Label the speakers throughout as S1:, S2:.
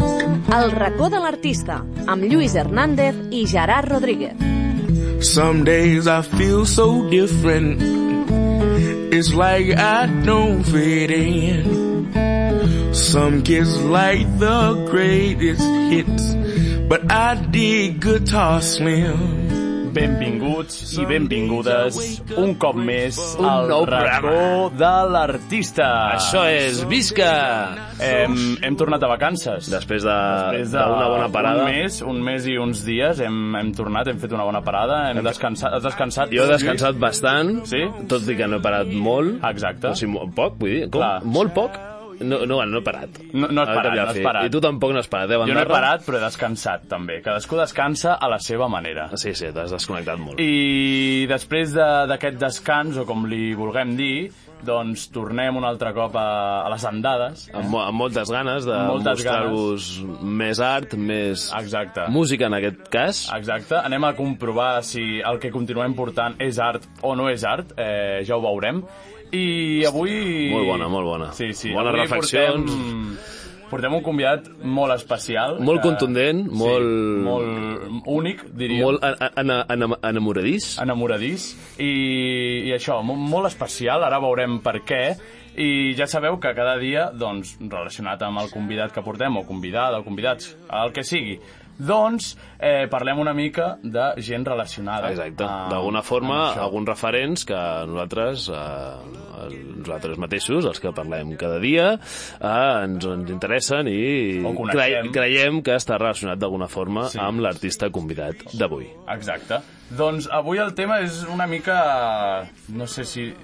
S1: El racó de l'artista, amb Lluís Hernández i Gerard Rodríguez.
S2: Some days I feel so different. It's like I don't fit in. Some kids like the greatest hits, but I dig guitar slim.
S3: Benvinguts i benvingudes un cop més
S2: Un
S3: al
S4: nou
S3: racó de l'artista.
S4: Això
S3: Ah.
S4: és Visca!
S3: Hem, hem tornat a vacances.
S4: Després de-
S3: Després de
S4: d'una bona parada.
S3: Un mes, un mes i uns dies hem, hem tornat, hem fet una bona parada, hem descansat. Has descansat?
S4: Jo he
S3: tu,
S4: descansat bastant,
S3: Sí?
S4: tot i que no he parat molt.
S3: Exacte.
S4: O sigui, mo- poc, vull dir, com?
S3: Clar.
S4: Molt poc? No, no, no he parat.
S3: No- no has
S4: Al cap
S3: parat,
S4: i a
S3: no has
S4: fi.
S3: parat.
S4: I tu tampoc no has parat, eh,
S3: Lluís? Jo no he
S4: Bandarra?
S3: parat, però he descansat, també. Cadascú descansa a la seva manera.
S4: Sí, sí, t'has desconnectat molt.
S3: I després de- d'aquest descans, o com li vulguem dir, doncs tornem un altre cop a, a les andades.
S4: Amb, mo- amb moltes ganes de
S3: Moltes
S4: mostrar-vos més art, més
S3: Exacte.
S4: música en aquest cas.
S3: Exacte, anem a comprovar si el que continuem portant és art o no és art, eh, ja ho veurem. I avui...
S4: Molt bona, molt bona.
S3: Sí, sí.
S4: Bones
S3: avui
S4: reflexions.
S3: Portem, portem un convidat molt especial. eh,
S4: Molt contundent, molt-
S3: Sí, molt únic, diríem.
S4: Molt en- en- en- en- enamoradís.
S3: enamoradís i, i això, mo- molt especial, ara veurem per què i ja sabeu que cada dia, doncs, relacionat amb el convidat que portem, o convidada, o convidats, el que sigui, doncs eh, parlem una mica de gent relacionada.
S4: Ah, Exacte.
S3: amb-
S4: D'alguna forma,
S3: amb Ah, això.
S4: alguns referents que nosaltres, eh, el- nosaltres mateixos, els que parlem cada dia, eh, ens, ens interessen i
S3: O coneixem.
S4: cre- creiem que està relacionat d'alguna forma
S3: Sí.
S4: amb l'artista convidat d'avui.
S3: Exacte. Doncs avui el tema és una mica... No sé si...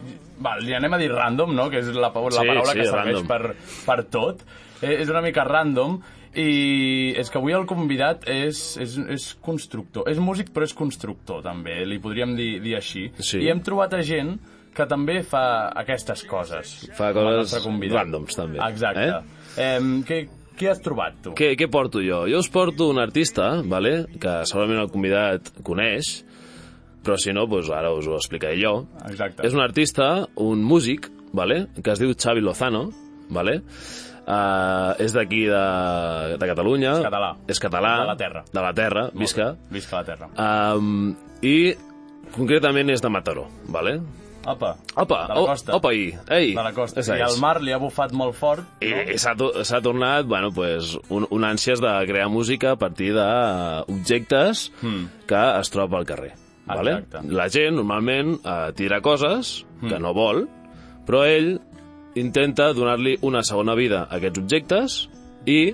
S3: Va, li anem a dir random, no? Que és la, pa- la
S4: Sí,
S3: paraula
S4: sí,
S3: que serveix
S4: random.
S3: per, per tot. Eh, és una mica random i és que avui el convidat és, és, és constructor. És músic, però és constructor, també. Li podríem dir, dir així.
S4: Sí.
S3: I hem trobat a gent que també fa aquestes coses.
S4: Fa
S3: amb el
S4: coses
S3: nostre convidat.
S4: randoms, també,
S3: Exacte.
S4: eh?
S3: Eh? què, què has trobat, tu?
S4: Què, què porto jo? Jo us porto un artista, vale? que segurament el convidat coneix, però si no, doncs ara us ho explicaré jo.
S3: Exacte.
S4: És un artista, un músic, vale? que es diu Xavi Lozano, vale? Uh, és d'aquí de, de Catalunya.
S3: És català.
S4: És català.
S3: De la terra.
S4: De la terra, visca.
S3: Visca la Terra.
S4: Um, I concretament és de Mataró, vale?
S3: Apa.
S4: Opa,
S3: de la
S4: o-
S3: costa.
S4: opa, i- ei,
S3: de la costa.
S4: esa
S3: I
S4: és.
S3: el mar li ha bufat molt fort.
S4: I, i Eh, s'ha to- s'ha tornat, bueno, pues, un, un ànsies de crear música a partir d'objectes mm. que es troba al carrer. Vale?
S3: Exacte.
S4: La gent normalment eh, tira coses que no vol, però ell intenta donar-li una segona vida a aquests objectes i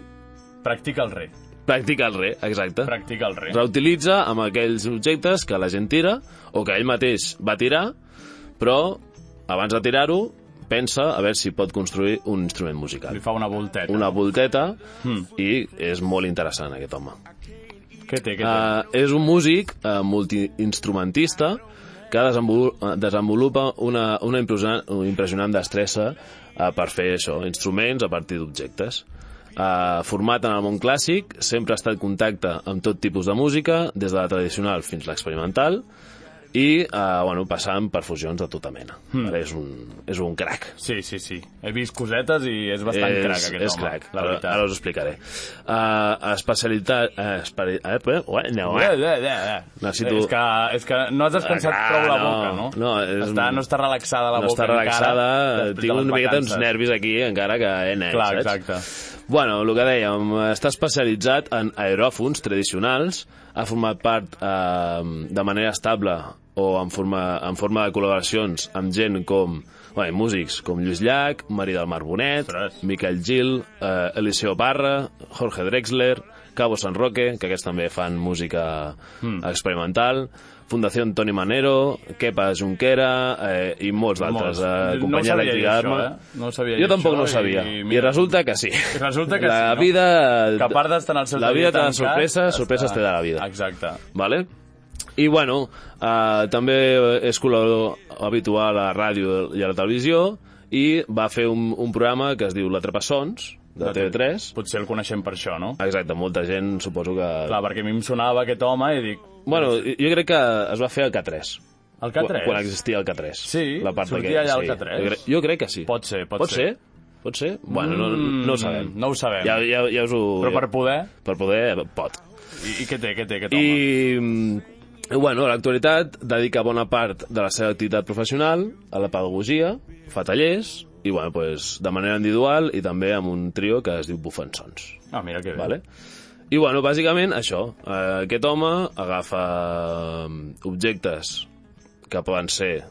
S3: Practica el rei.
S4: practica el re, exacte.
S3: Practica el rei.
S4: Reutilitza amb aquells objectes que la gent tira o que ell mateix va tirar, però abans de tirar-ho pensa a veure si pot construir un instrument musical
S3: Li fa una volteta.
S4: una volteta i és molt interessant aquest home.
S3: Què té, què té?
S4: Uh, és un músic uh, multiinstrumentista que desenvolu- eh, desenvolupa una, una impressionant, una impressionant destressa uh, per fer això, instruments a partir d'objectes. Uh, format en el món clàssic, sempre ha estat en contacte amb tot tipus de música, des de la tradicional fins a l'experimental, i uh, bueno, passant per fusions de tota mena. Ara És, un, és un crac.
S3: Sí, sí, sí. He vist cosetes i és bastant crac, aquest
S4: és
S3: home.
S4: crac,
S3: la
S4: ara,
S3: veritat.
S4: ara us ho explicaré. Uh, especialitat... Uh, esperi... eh, eh, eh, no,
S3: Eh,
S4: eh.
S3: eh, eh, eh.
S4: Necessito-
S3: És que, és que no has descansat
S4: Ah,
S3: prou la
S4: no.
S3: boca, no?
S4: No, és-
S3: Està, no està relaxada la
S4: no
S3: boca
S4: està relaxada,
S3: encara. després de
S4: tinc
S3: les
S4: una miqueta uns
S3: vacances.
S4: nervis aquí, encara que eh, nens,
S3: Clar,
S4: saps?
S3: exacte.
S4: Bueno, el que dèiem, està especialitzat en aeròfons tradicionals, ha format part eh, de manera estable o en forma, en forma de col·laboracions amb gent com, bueno, músics com Lluís Llach, Mari del Mar Bonet,
S3: Ostres.
S4: Miquel Gil, eh, Eliseo Barra, Jorge Drexler, Cabo San Roque, que aquests també fan música
S3: Hmm.
S4: experimental, Fundació Toni Manero, Kepa Junquera eh, i molts
S3: Molts.
S4: d'altres. Eh,
S3: no ho
S4: companyia
S3: sabia
S4: elèctrica
S3: dir, això,
S4: Arma.
S3: eh? No ho sabia
S4: Jo
S3: dir,
S4: tampoc
S3: això,
S4: no ho sabia.
S3: i
S4: I,
S3: mira-
S4: resulta que sí.
S3: Resulta que
S4: la
S3: sí, no?
S4: vida...
S3: Que a part d'estar en el seu
S4: La vida te da
S3: tancat,
S4: sorpreses,
S3: està-
S4: sorpreses te da la vida.
S3: Exacte.
S4: Vale? I bueno, eh, també és col·laborador habitual a la ràdio i a la televisió i va fer un, un programa que es diu L'Atrapassons, de TV3.
S3: Potser el coneixem per això, no?
S4: Exacte, molta gent suposo que...
S3: Clar, perquè a mi em sonava aquest home i dic...
S4: Bueno, jo crec que es va fer al K3.
S3: El K3?
S4: Quan existia el K3.
S3: Sí,
S4: la part
S3: sortia allà
S4: d'aquest-
S3: al
S4: sí.
S3: K3.
S4: Jo crec, jo crec que sí.
S3: Pot ser, pot
S4: pot ser.
S3: ser.
S4: Pot ser? Pot ser? Bueno, no, no ho sabem.
S3: No ho sabem.
S4: Ja, ja, ja us ho...
S3: Però per poder...
S4: per poder, pot.
S3: I, i què té, què té aquest home?
S4: I, mm, bueno, a l'actualitat dedica bona part de la seva activitat professional a la pedagogia, fa tallers, i bueno, pues, de manera individual i també amb un trio que es diu Bufensons.
S3: Ah, mira que bé.
S4: Vale? I bueno, bàsicament això. Eh, aquest home agafa mm, objectes que poden ser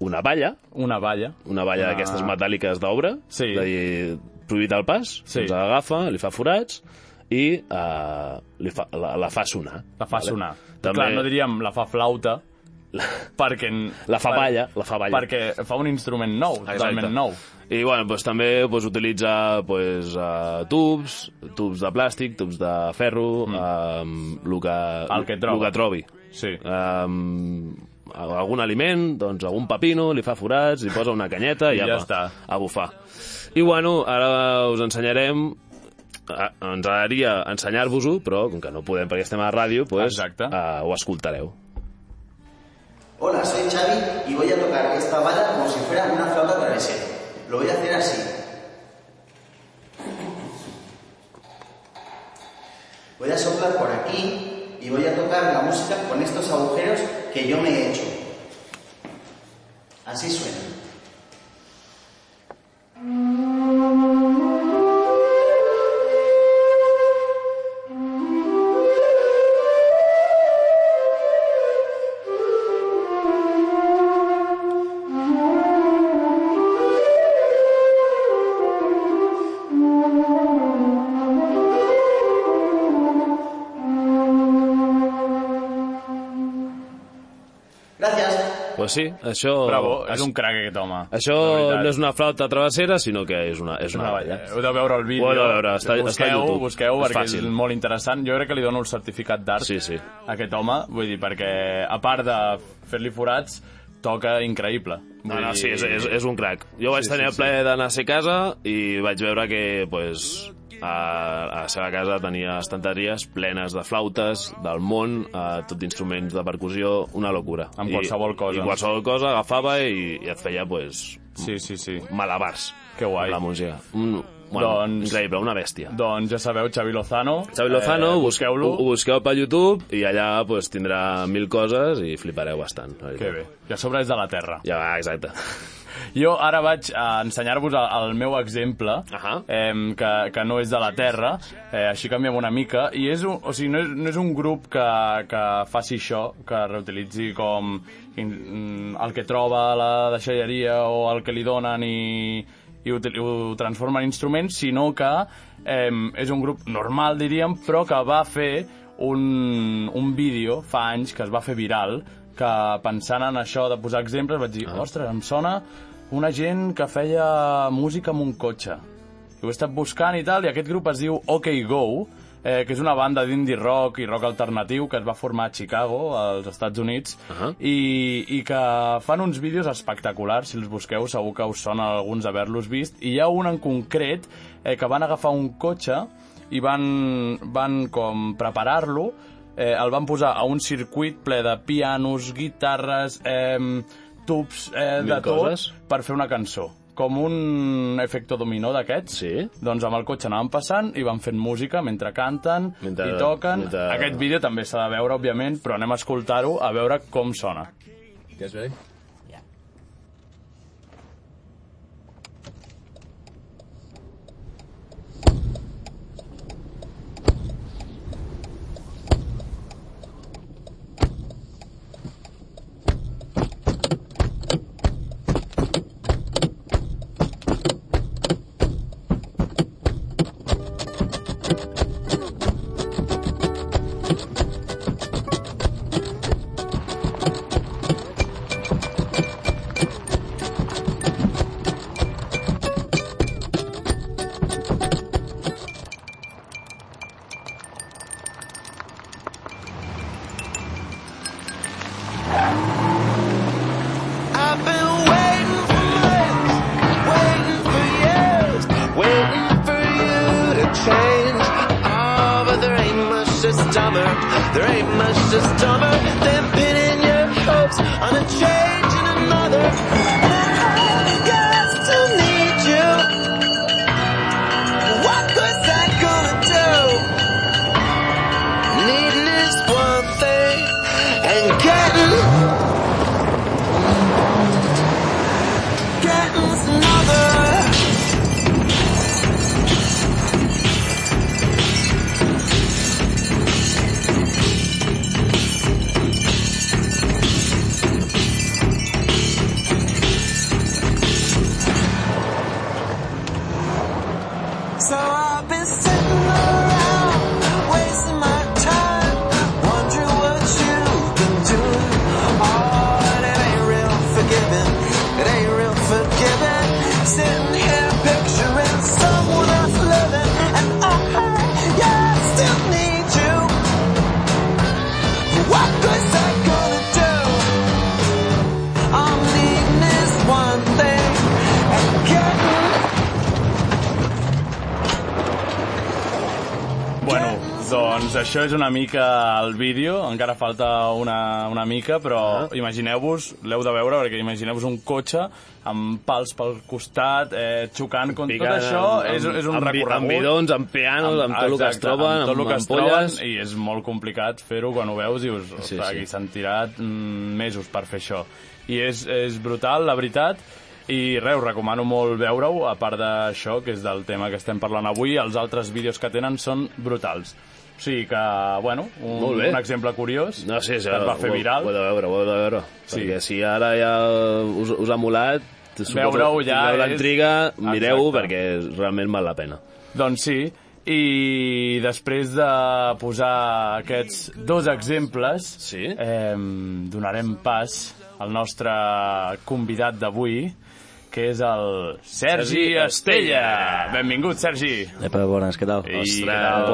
S4: una valla,
S3: Una valla.
S4: una valla
S3: Una-
S4: d'aquestes metàl·liques d'obra,
S3: Sí.
S4: és a dir, prohibit al pas,
S3: Sí.
S4: doncs agafa, li fa forats i eh, li fa, la, la fa sonar.
S3: La fa sonar.
S4: També-
S3: Clar, no diríem la fa flauta, perquè... en-
S4: La fa
S3: per-
S4: balla, la fa balla.
S3: Perquè fa un instrument nou, totalment nou.
S4: I bueno, doncs, també doncs, utilitza doncs, eh, tubs, tubs de plàstic, tubs de ferro, mm. eh, el que,
S3: El que troba.
S4: el que trobi.
S3: Sí.
S4: Um, algun aliment, doncs algun pepino, li fa forats, li posa una canyeta i,
S3: I ja
S4: apa,
S3: està.
S4: a bufar. I bueno, ara us ensenyarem a, ens agradaria ensenyar-vos-ho, però com que no podem perquè estem a la ràdio, pues,
S3: Exacte.
S4: eh, ho escoltareu.
S5: Hola, soy Xavi y voy a tocar esta bala como si fuera una flauta travesera. Lo voy a hacer así. Voy a soplar por aquí y voy a tocar la música con estos agujeros que yo me he hecho. Así suena. Gracias.
S4: Pues sí, això...
S3: Bravo, és un crac aquest home.
S4: Això no és una flauta travessera, sinó que és una, és una balla.
S3: Heu de veure el vídeo.
S4: Ho heu de veure, està- està a
S3: busqueu,
S4: YouTube.
S3: Busqueu,
S4: És
S3: perquè és,
S4: fàcil.
S3: molt interessant. Jo crec que li dono el certificat d'art
S4: Sí, sí.
S3: a aquest home, vull dir, perquè a part de fer-li forats, toca increïble.
S4: No,
S3: Vull
S4: no,
S3: dir-
S4: sí, és, és, és un crac. Jo vaig
S3: Sí,
S4: sí, tenir
S3: sí,
S4: el plaer d'anar a ser casa i vaig veure que, pues, a, a la seva casa tenia estanteries plenes de flautes, del món, eh, tot d'instruments de percussió, una locura.
S3: Amb qualsevol cosa.
S4: I qualsevol cosa agafava i, i et feia, pues,
S3: Sí, sí, sí.
S4: malabars.
S3: Que guai.
S4: amb La música. Mm, bueno,
S3: Doncs-
S4: doncs... increïble, una bèstia.
S3: Doncs ja sabeu, Xavi Lozano.
S4: Xavi Lozano,
S3: busqueu-lo.
S4: eh, busqueu-lo. Ho busqueu per YouTube i allà pues, tindrà mil coses i flipareu bastant. la veritat.
S3: Que bé. I a sobre és de la Terra.
S4: Ja, exacte.
S3: Jo ara vaig a ensenyar-vos el, el meu exemple,
S4: Ahà.
S3: eh, que, que no és de la Terra, eh, així canviem una mica, i és un, o sigui, no, és, no és un grup que, que faci això, que reutilitzi com in, mm, el que troba a la deixalleria o el que li donen i, i ho, ho transforma en instruments, sinó que eh, és un grup normal, diríem, però que va fer un, un vídeo fa anys que es va fer viral que pensant en això de posar exemples vaig dir, ostres, em sona una gent que feia música amb un cotxe. I ho he estat buscant i tal, i aquest grup es diu OK Go, eh, que és una banda d'indie rock i rock alternatiu que es va formar a Chicago, als Estats Units,
S4: Ahà.
S3: i, i que fan uns vídeos espectaculars, si els busqueu segur que us sona alguns haver-los vist, i hi ha un en concret eh, que van agafar un cotxe i van, van com preparar-lo, eh, el van posar a un circuit ple de pianos, guitarres, eh, tubs, eh,
S4: Mil
S3: de tot,
S4: coses.
S3: per fer una cançó com un efecte dominó d'aquests,
S4: Sí.
S3: doncs amb el cotxe anaven passant i van fent música mentre canten
S4: Mentre-
S3: i toquen.
S4: mentre-
S3: Aquest vídeo també s'ha de veure, òbviament, però anem a escoltar-ho a veure com sona.
S6: guys ready?
S7: I've been waiting for months, waiting for years, waiting for you to change. Oh, but there ain't much that's dumber, there ain't much that's dumber than pinning your hopes on a change in another. And I got to need you. and getting, getting another. So I've been sitting around, wasting my time, wondering what you've been doing. Oh, and it ain't real forgiving, it ain't real forgiving. Sitting here picturing someone else living, and oh, yeah, I still need you. What good's that gonna do? All I'm needing is one thing, and getting.
S3: Bueno, doncs això és una mica el vídeo, encara falta una, una mica, però ah. imagineu-vos, l'heu de veure, perquè imagineu-vos un cotxe amb pals pel costat, eh, xocant contra tot
S4: Picant
S3: això, és, és un
S4: amb, bi-
S3: recorregut.
S4: Amb bidons, amb pianos, amb, tot el que es
S3: exacte,
S4: troben,
S3: amb,
S4: amb,
S3: tot el que es
S4: ampolles...
S3: troben, i és molt complicat fer-ho quan ho veus i us,
S4: Sí,
S3: sí, ostres,
S4: sí.
S3: sí. s'han tirat mm, mesos per fer això. I és, és brutal, la veritat, i res, us recomano molt veure-ho, a part d'això, que és del tema que estem parlant avui, els altres vídeos que tenen són brutals. O sigui que, bueno, un,
S4: Molt bé.
S3: un exemple curiós
S4: No sé,
S3: que es va fer
S4: ho,
S3: viral.
S4: Ho heu de veure, ho heu de veure.
S3: Sí.
S4: Sí. Perquè si ara ja us, us ha molat, suposo
S3: Veure-ho
S4: que
S3: ja
S4: tindreu
S3: és-
S4: l'intriga, mireu-ho
S3: Exacte.
S4: perquè realment val la pena.
S3: Doncs sí, i després de posar aquests dos exemples,
S4: Sí.
S3: eh, donarem pas al nostre convidat d'avui, que és el Sergi
S4: Sergi
S3: Estella. Benvingut, Sergi.
S6: Epa, bones, què tal?
S3: I-
S4: Oh, Ostres,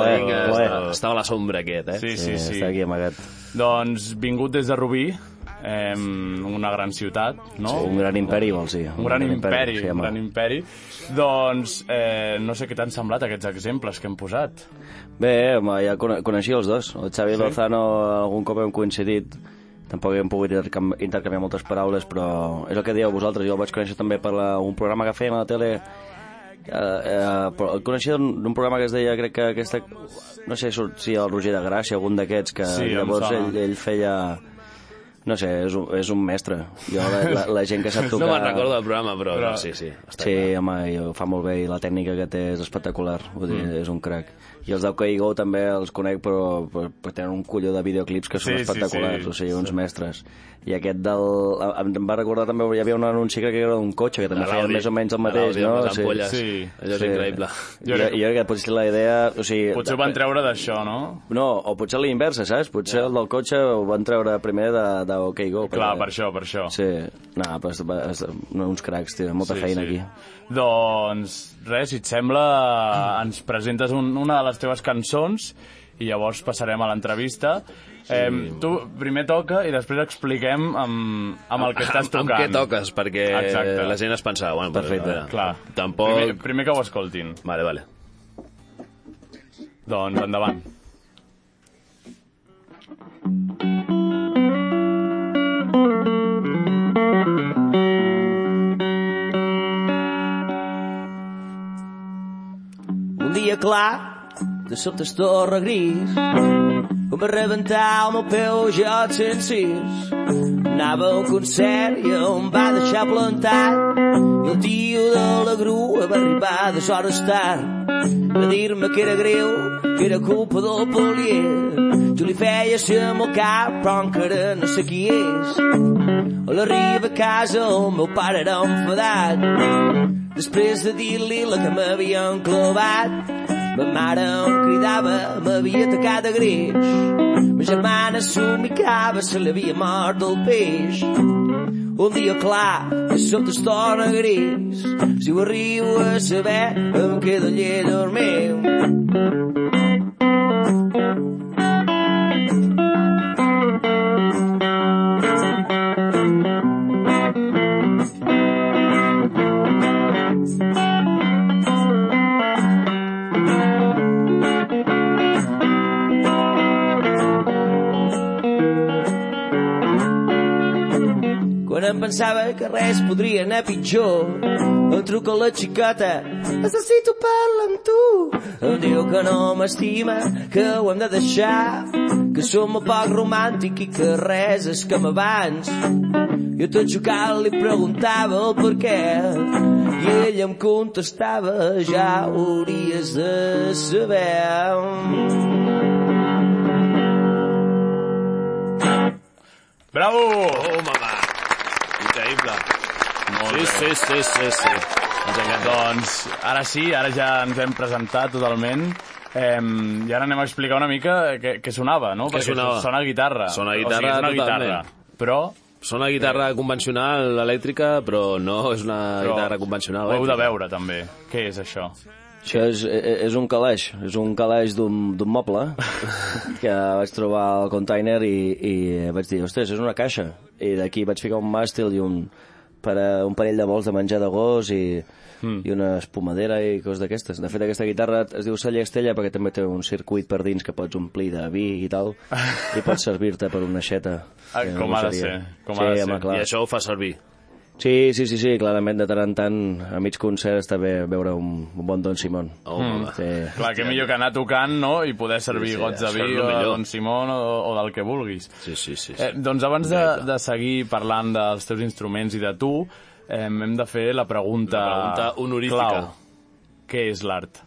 S6: ué,
S4: vinga,
S6: ué.
S4: estava, estava a la sombra aquest, eh?
S3: Sí, sí, sí.
S6: Està aquí amagat.
S3: Doncs vingut des de Rubí, eh, una gran ciutat, no?
S6: Un gran imperi, vols dir?
S3: Un gran imperi,
S6: sí,
S3: un
S6: home.
S3: gran imperi. Doncs eh, no sé què t'han semblat aquests exemples que hem posat.
S6: Bé, home, ja cone- coneixia els dos. El Xavi sí? Lozano algun cop hem coincidit, tampoc hem pogut intercam- intercanviar moltes paraules, però és el que dieu vosaltres. Jo el vaig conèixer també per la, un programa que feien a la tele Eh, eh, però el coneixia d'un d'un programa que es deia, crec que aquesta... No sé, sortia el Roger de Gràcia, algun d'aquests, que
S3: Sí, em
S6: llavors
S3: sona.
S6: ell, ell feia... No sé, és un, és un mestre. Jo, la, la, la gent que sap
S4: No
S6: tocar...
S4: me'n recordo del programa, però,
S3: Però-
S4: però... sí, sí. Està
S6: Sí, home, i ho fa molt bé i la tècnica que té és espectacular, vull dir, mm. és un crac. I els d'OK Go també els conec, però, però, però tenen un colló de videoclips que són
S3: Sí, sí,
S6: espectaculars,
S3: sí.
S6: o sigui, uns mestres. I aquest del... a- Em va recordar també, hi havia un anunci crec que era d'un cotxe, que també
S4: De
S6: feia
S4: l'Audi.
S6: més o menys el
S4: De
S6: mateix,
S4: l'Audi amb
S6: no?
S4: les ampolles.
S3: Sí.
S4: Allò és increïble.
S6: Jo, jo, crec que potser la idea... O sigui,
S3: Potser ho van treure d'això, no?
S6: No, o potser la inversa, saps? Potser el del cotxe ho van treure primer de, de OK Go.
S3: Clar, per això, per això.
S6: Sí, no, però es, es, uns cracs, tio, molta sí, feina sí. aquí.
S3: Doncs res, si et sembla, ens presentes un, una de les teves cançons i llavors passarem a l'entrevista. Sí. Eh, tu primer toca i després expliquem amb, amb el que estàs
S4: Amb,
S3: tocant.
S4: amb què toques, perquè
S3: Exacte.
S4: la gent es pensava... Bueno, Però,
S6: Perfecte.
S4: a veure,
S3: Clar.
S4: Tampoc...
S3: Primer, primer que ho escoltin.
S4: Vale, vale.
S3: Doncs endavant.
S6: Un dia clar, de sobte es torna gris, em va rebentar el meu peu jo sense cis. Anava a un concert i em va deixar plantat, i el tio de la grua va arribar dues hores tard. Va dir-me que era greu, que era culpa del polier. Jo li feia ser amb el cap, però encara no sé qui és. A la riba a casa el meu pare era enfadat, Després de dir-li la que m'havia enclavat, ma mare em cridava, m'havia atacat de greix. Ma germana somicava, se l'havia mort del peix. Un dia clar, de sobte es torna gris. Si ho arribo a saber, em quedo allà dormint. Quan em pensava que res podria anar pitjor, em truca la xicota, necessito parlar amb tu. Em diu que no m'estima, que ho hem de deixar, que som molt poc romàntic i que res és com abans. Jo tot xocant li preguntava el per què i ell em contestava ja ho hauries de saber.
S3: Bravo!
S4: Oh, mama! Increïble.
S3: Molt
S4: Sí,
S3: bé.
S4: sí, sí, sí, sí. Ens encanta.
S3: Doncs ara sí, ara ja ens hem presentat totalment. Eh, I ara anem a explicar una mica què, què sonava, no?
S4: Què
S3: Perquè
S4: sonava?
S3: sona guitarra.
S4: Sona
S3: o sigui,
S4: guitarra
S3: és una guitarra.
S4: totalment.
S3: Però
S4: Sona guitarra convencional elèctrica, però no és una
S3: Eh. Però
S4: guitarra convencional
S3: ho heu de
S4: elèctrica.
S3: veure, també. Què és això?
S6: Això és, eh, és un calaix, és un calaix d'un d'un moble que vaig trobar al container i, i vaig dir, ostres, és una caixa. I d'aquí vaig ficar un màstil i un, per a, un parell de bols de menjar de gos i,
S3: Hmm.
S6: mm. i una espumadera i coses d'aquestes. De fet, aquesta guitarra es diu Salla Estella perquè també té un circuit per dins que pots omplir de vi i tal i pots servir-te per una xeta.
S3: Ah,
S6: que
S3: com
S6: no
S3: ha de
S6: seria.
S3: ser, com
S6: sí,
S3: ha de ser.
S6: Home, clar.
S4: I això ho fa servir.
S6: Sí, sí, sí, sí, clarament de tant en tant a mig concert està bé veure un, un bon Don Simon.
S4: Oh,
S3: Mm,
S4: mama.
S6: Sí.
S3: Clar, que millor que anar tocant, no?, i poder servir
S4: sí,
S3: gots de
S4: això és
S3: vi
S4: lo
S3: o de
S4: millor.
S3: Don Simón o, o del que vulguis.
S4: Sí, sí, sí. sí.
S3: Eh, doncs abans de, de seguir parlant dels teus instruments i de tu, eh, hem de fer la pregunta...
S4: La pregunta honorífica.
S3: Clau. Què és l'art?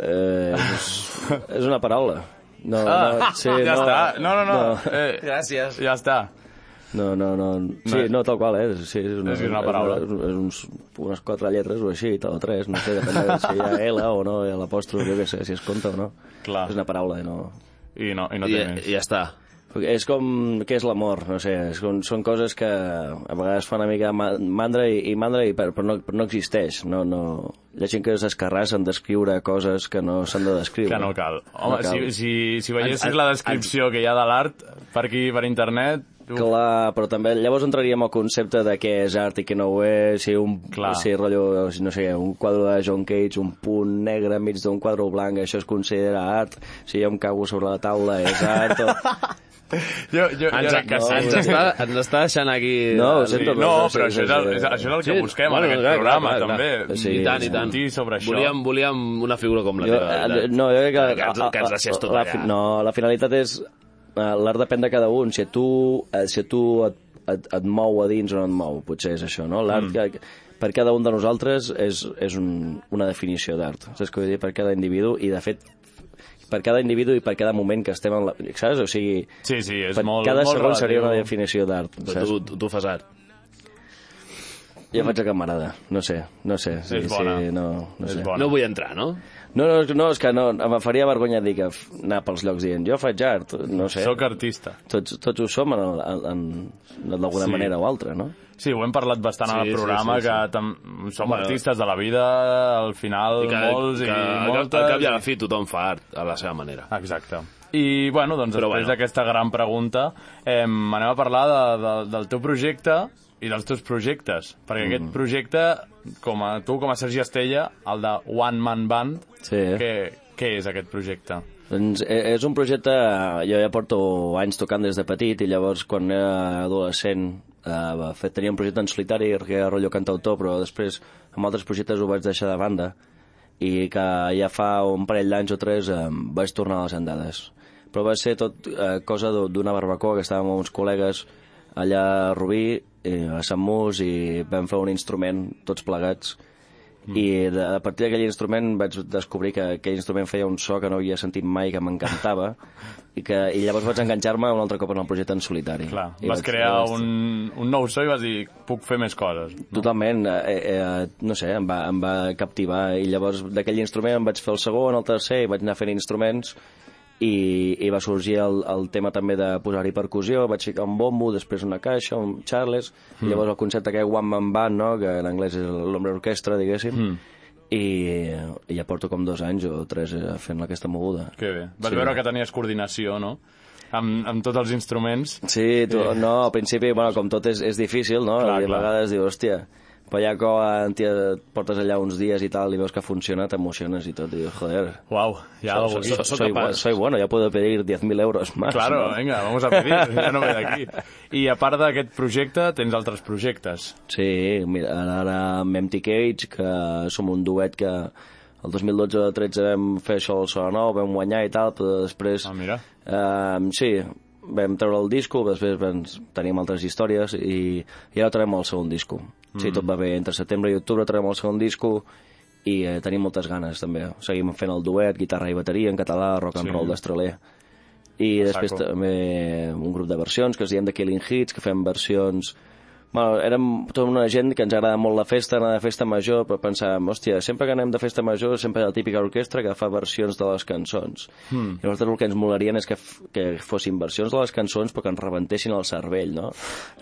S6: Eh, és, és una paraula. No, no, sí,
S3: Ah, ja
S6: no,
S3: està. No, no, no.
S6: No,
S3: Eh,
S7: Gràcies.
S3: ja està.
S6: no, no, no. Sí, no, tal qual, eh? Sí, és una,
S3: És una paraula.
S6: És, és uns, unes quatre lletres o així, o tres, no sé, depèn de si hi ha L o no, hi ha l'apòstrof, jo què sé, si es compta o no.
S3: Clar.
S6: És una paraula, eh, no...
S3: I no, i no
S4: I, eh,
S3: té més.
S4: I ja està.
S6: És com... Què és l'amor? No sé, és com, són coses que a vegades fan una mica ma- mandra i, i mandra, i, però, però, no, però no existeix. No, no... Hi ha gent que s'escarrassen descriure coses que no s'han de descriure.
S3: Que no cal. Home,
S6: No cal.
S3: si, si, si veiessis
S4: Ens-
S3: la
S4: ens-
S3: descripció que hi ha de l'art per aquí, per internet... tu-
S6: Clar, però també llavors entraríem al concepte de què és art i què no ho és, si un,
S3: Clar.
S6: si rotllo, no sé, un quadre de John Cage, un punt negre enmig d'un quadre blanc, això es considera art, si jo em cago sobre la taula és art, o...
S3: Jo, jo, jo
S4: Ens,
S3: crec que
S4: no,
S3: sí.
S4: ens, està, ens està deixant aquí... eh,
S6: No, ho
S4: Sí.
S6: sento,
S3: No,
S6: sí,
S3: però
S6: sí,
S3: això és el,
S6: sí,
S3: és,
S6: sí.
S3: això és el que
S4: Sí,
S3: busquem
S4: bueno,
S3: en aquest
S4: clar,
S3: programa,
S4: clar, clar.
S3: també.
S6: Sí,
S4: I tant, i tant.
S3: Discutir sobre això.
S4: Volíem, volíem una figura com la
S6: Jo,
S4: teva.
S6: eh,
S4: veritat.
S6: no, jo crec que...
S4: Que ens- que ens deixés tot
S6: la,
S4: allà.
S6: fi- No, la finalitat és... eh, L'art depèn de cada un. Si a tu, eh, si a tu et, et, et mou a dins o no et mou, potser és això, no? L'art mm. que, per cada un de nosaltres és, és un, una definició d'art. Saps què vull dir? Per cada individu i, de fet, per cada individu i per cada moment que estem en la... Saps? O sigui,
S3: Sí, sí, és
S6: per
S3: molt,
S6: cada
S3: molt
S6: segon seria una
S3: relatiu.
S6: definició d'art.
S4: Però
S6: saps?
S4: tu, tu, tu fas art.
S6: Jo faig el que m'agrada. No sé, no sé. Sí,
S3: És bona.
S6: Sí, no, no
S3: És
S6: sé.
S3: bona.
S4: No vull entrar, no?
S6: No, no, no, és que no, em faria vergonya dir que f- anar pels llocs dient jo faig art, no sé.
S3: Soc artista.
S6: Tots, tots ho som en, en, en, d'alguna
S3: Sí.
S6: sí. manera o altra, no?
S3: Sí, ho hem parlat bastant sí,
S4: Sí,
S3: al
S4: sí,
S3: programa,
S4: sí, sí.
S3: que tam... som
S4: Bueno.
S3: artistes de la vida, al final, molts
S4: que,
S3: i
S4: al cap-
S3: moltes...
S4: Al cap i a la fi tothom fa art a la seva manera.
S3: Exacte. I, bueno, doncs
S4: Però
S3: després
S4: bueno.
S3: d'aquesta gran pregunta, eh, anem a parlar de, de, del teu projecte i dels teus projectes. Perquè mm. aquest projecte, com a tu, com a Sergi Estella, el de One Man Band,
S6: Sí.
S3: què, què és aquest projecte?
S6: Doncs e- és un projecte... Jo ja porto anys tocant des de petit i llavors quan era adolescent eh, fet, tenia un projecte en solitari que era rotllo cantautor, però després amb altres projectes ho vaig deixar de banda i que ja fa un parell d'anys o tres eh, vaig tornar a les andades. Però va ser tot eh, cosa d'u- d'una barbacoa que estàvem amb uns col·legues allà a Rubí, eh, a Sant Mus, i vam fer un instrument tots plegats
S3: Mm.
S6: i de, a partir d'aquell instrument vaig descobrir que aquell instrument feia un so que no havia sentit mai, que m'encantava, i, que, i llavors vaig enganxar-me un altre cop en el projecte en solitari.
S3: Clar,
S6: I
S3: vas
S6: vaig-
S3: crear
S6: vaig-
S3: un, un nou so i vas dir, puc fer més coses.
S6: Totalment, eh, eh, no sé, em va, em va captivar i llavors d'aquell instrument em vaig fer el segon, el tercer i vaig anar fent instruments i, i va sorgir el, el tema també de posar-hi percussió, vaig ficar un bombo, després una caixa, un charles, mm. llavors el concepte que One Man Band, no? que en anglès és l'ombre orquestra, diguéssim, mm. i, i ja porto com dos anys o tres eh, fent aquesta moguda.
S3: Que bé. Vas sí. veure que tenies coordinació, no? Amb, amb tots els instruments.
S6: Sí, tu, no, al principi, bueno, com tot és, és difícil, no?
S3: Clar,
S6: I a
S3: clar.
S6: vegades dius, hòstia, però ja quan t'hi portes allà uns dies i tal i veus que funciona, t'emociones i tot, i dius, joder,
S3: Uau, hi ha alguna
S4: so-
S3: cosa aquí.
S4: so- sóc
S6: soy,
S4: capaç.
S6: bu- soy bueno, ya puedo pedir 10.000 euros más.
S3: Claro,
S6: no?
S3: vinga, vamos a pedir, ja no ve d'aquí. I a part d'aquest projecte, tens altres projectes.
S6: Sí, mira, ara, ara amb Empty Cage, que som un duet que el 2012-13 vam fer això al Sona Nou, vam guanyar i tal, però després
S3: Ah, mira.
S6: Um, sí, vam treure el disco, després vam, teníem altres històries i, i ara traiem el segon disco. Mm. Sí, tot va bé. Entre setembre i octubre traiem el segon disco i eh, tenim moltes ganes, també. Seguim fent el duet, guitarra i bateria, en català, rock and
S3: Sí.
S6: sí. roll d'Estraler. I
S3: A
S6: després
S3: saco.
S6: també un grup de versions que es diem The Killing Hits, que fem versions... Bueno, érem tota una gent que ens agrada molt la festa, anar de festa major, però pensàvem, hòstia, sempre que anem de festa major sempre hi ha la típica orquestra que fa versions de les cançons.
S3: Hmm.
S6: Mm. I nosaltres el que ens molarien és que, f- que fossin versions de les cançons però que ens rebentessin el cervell, no?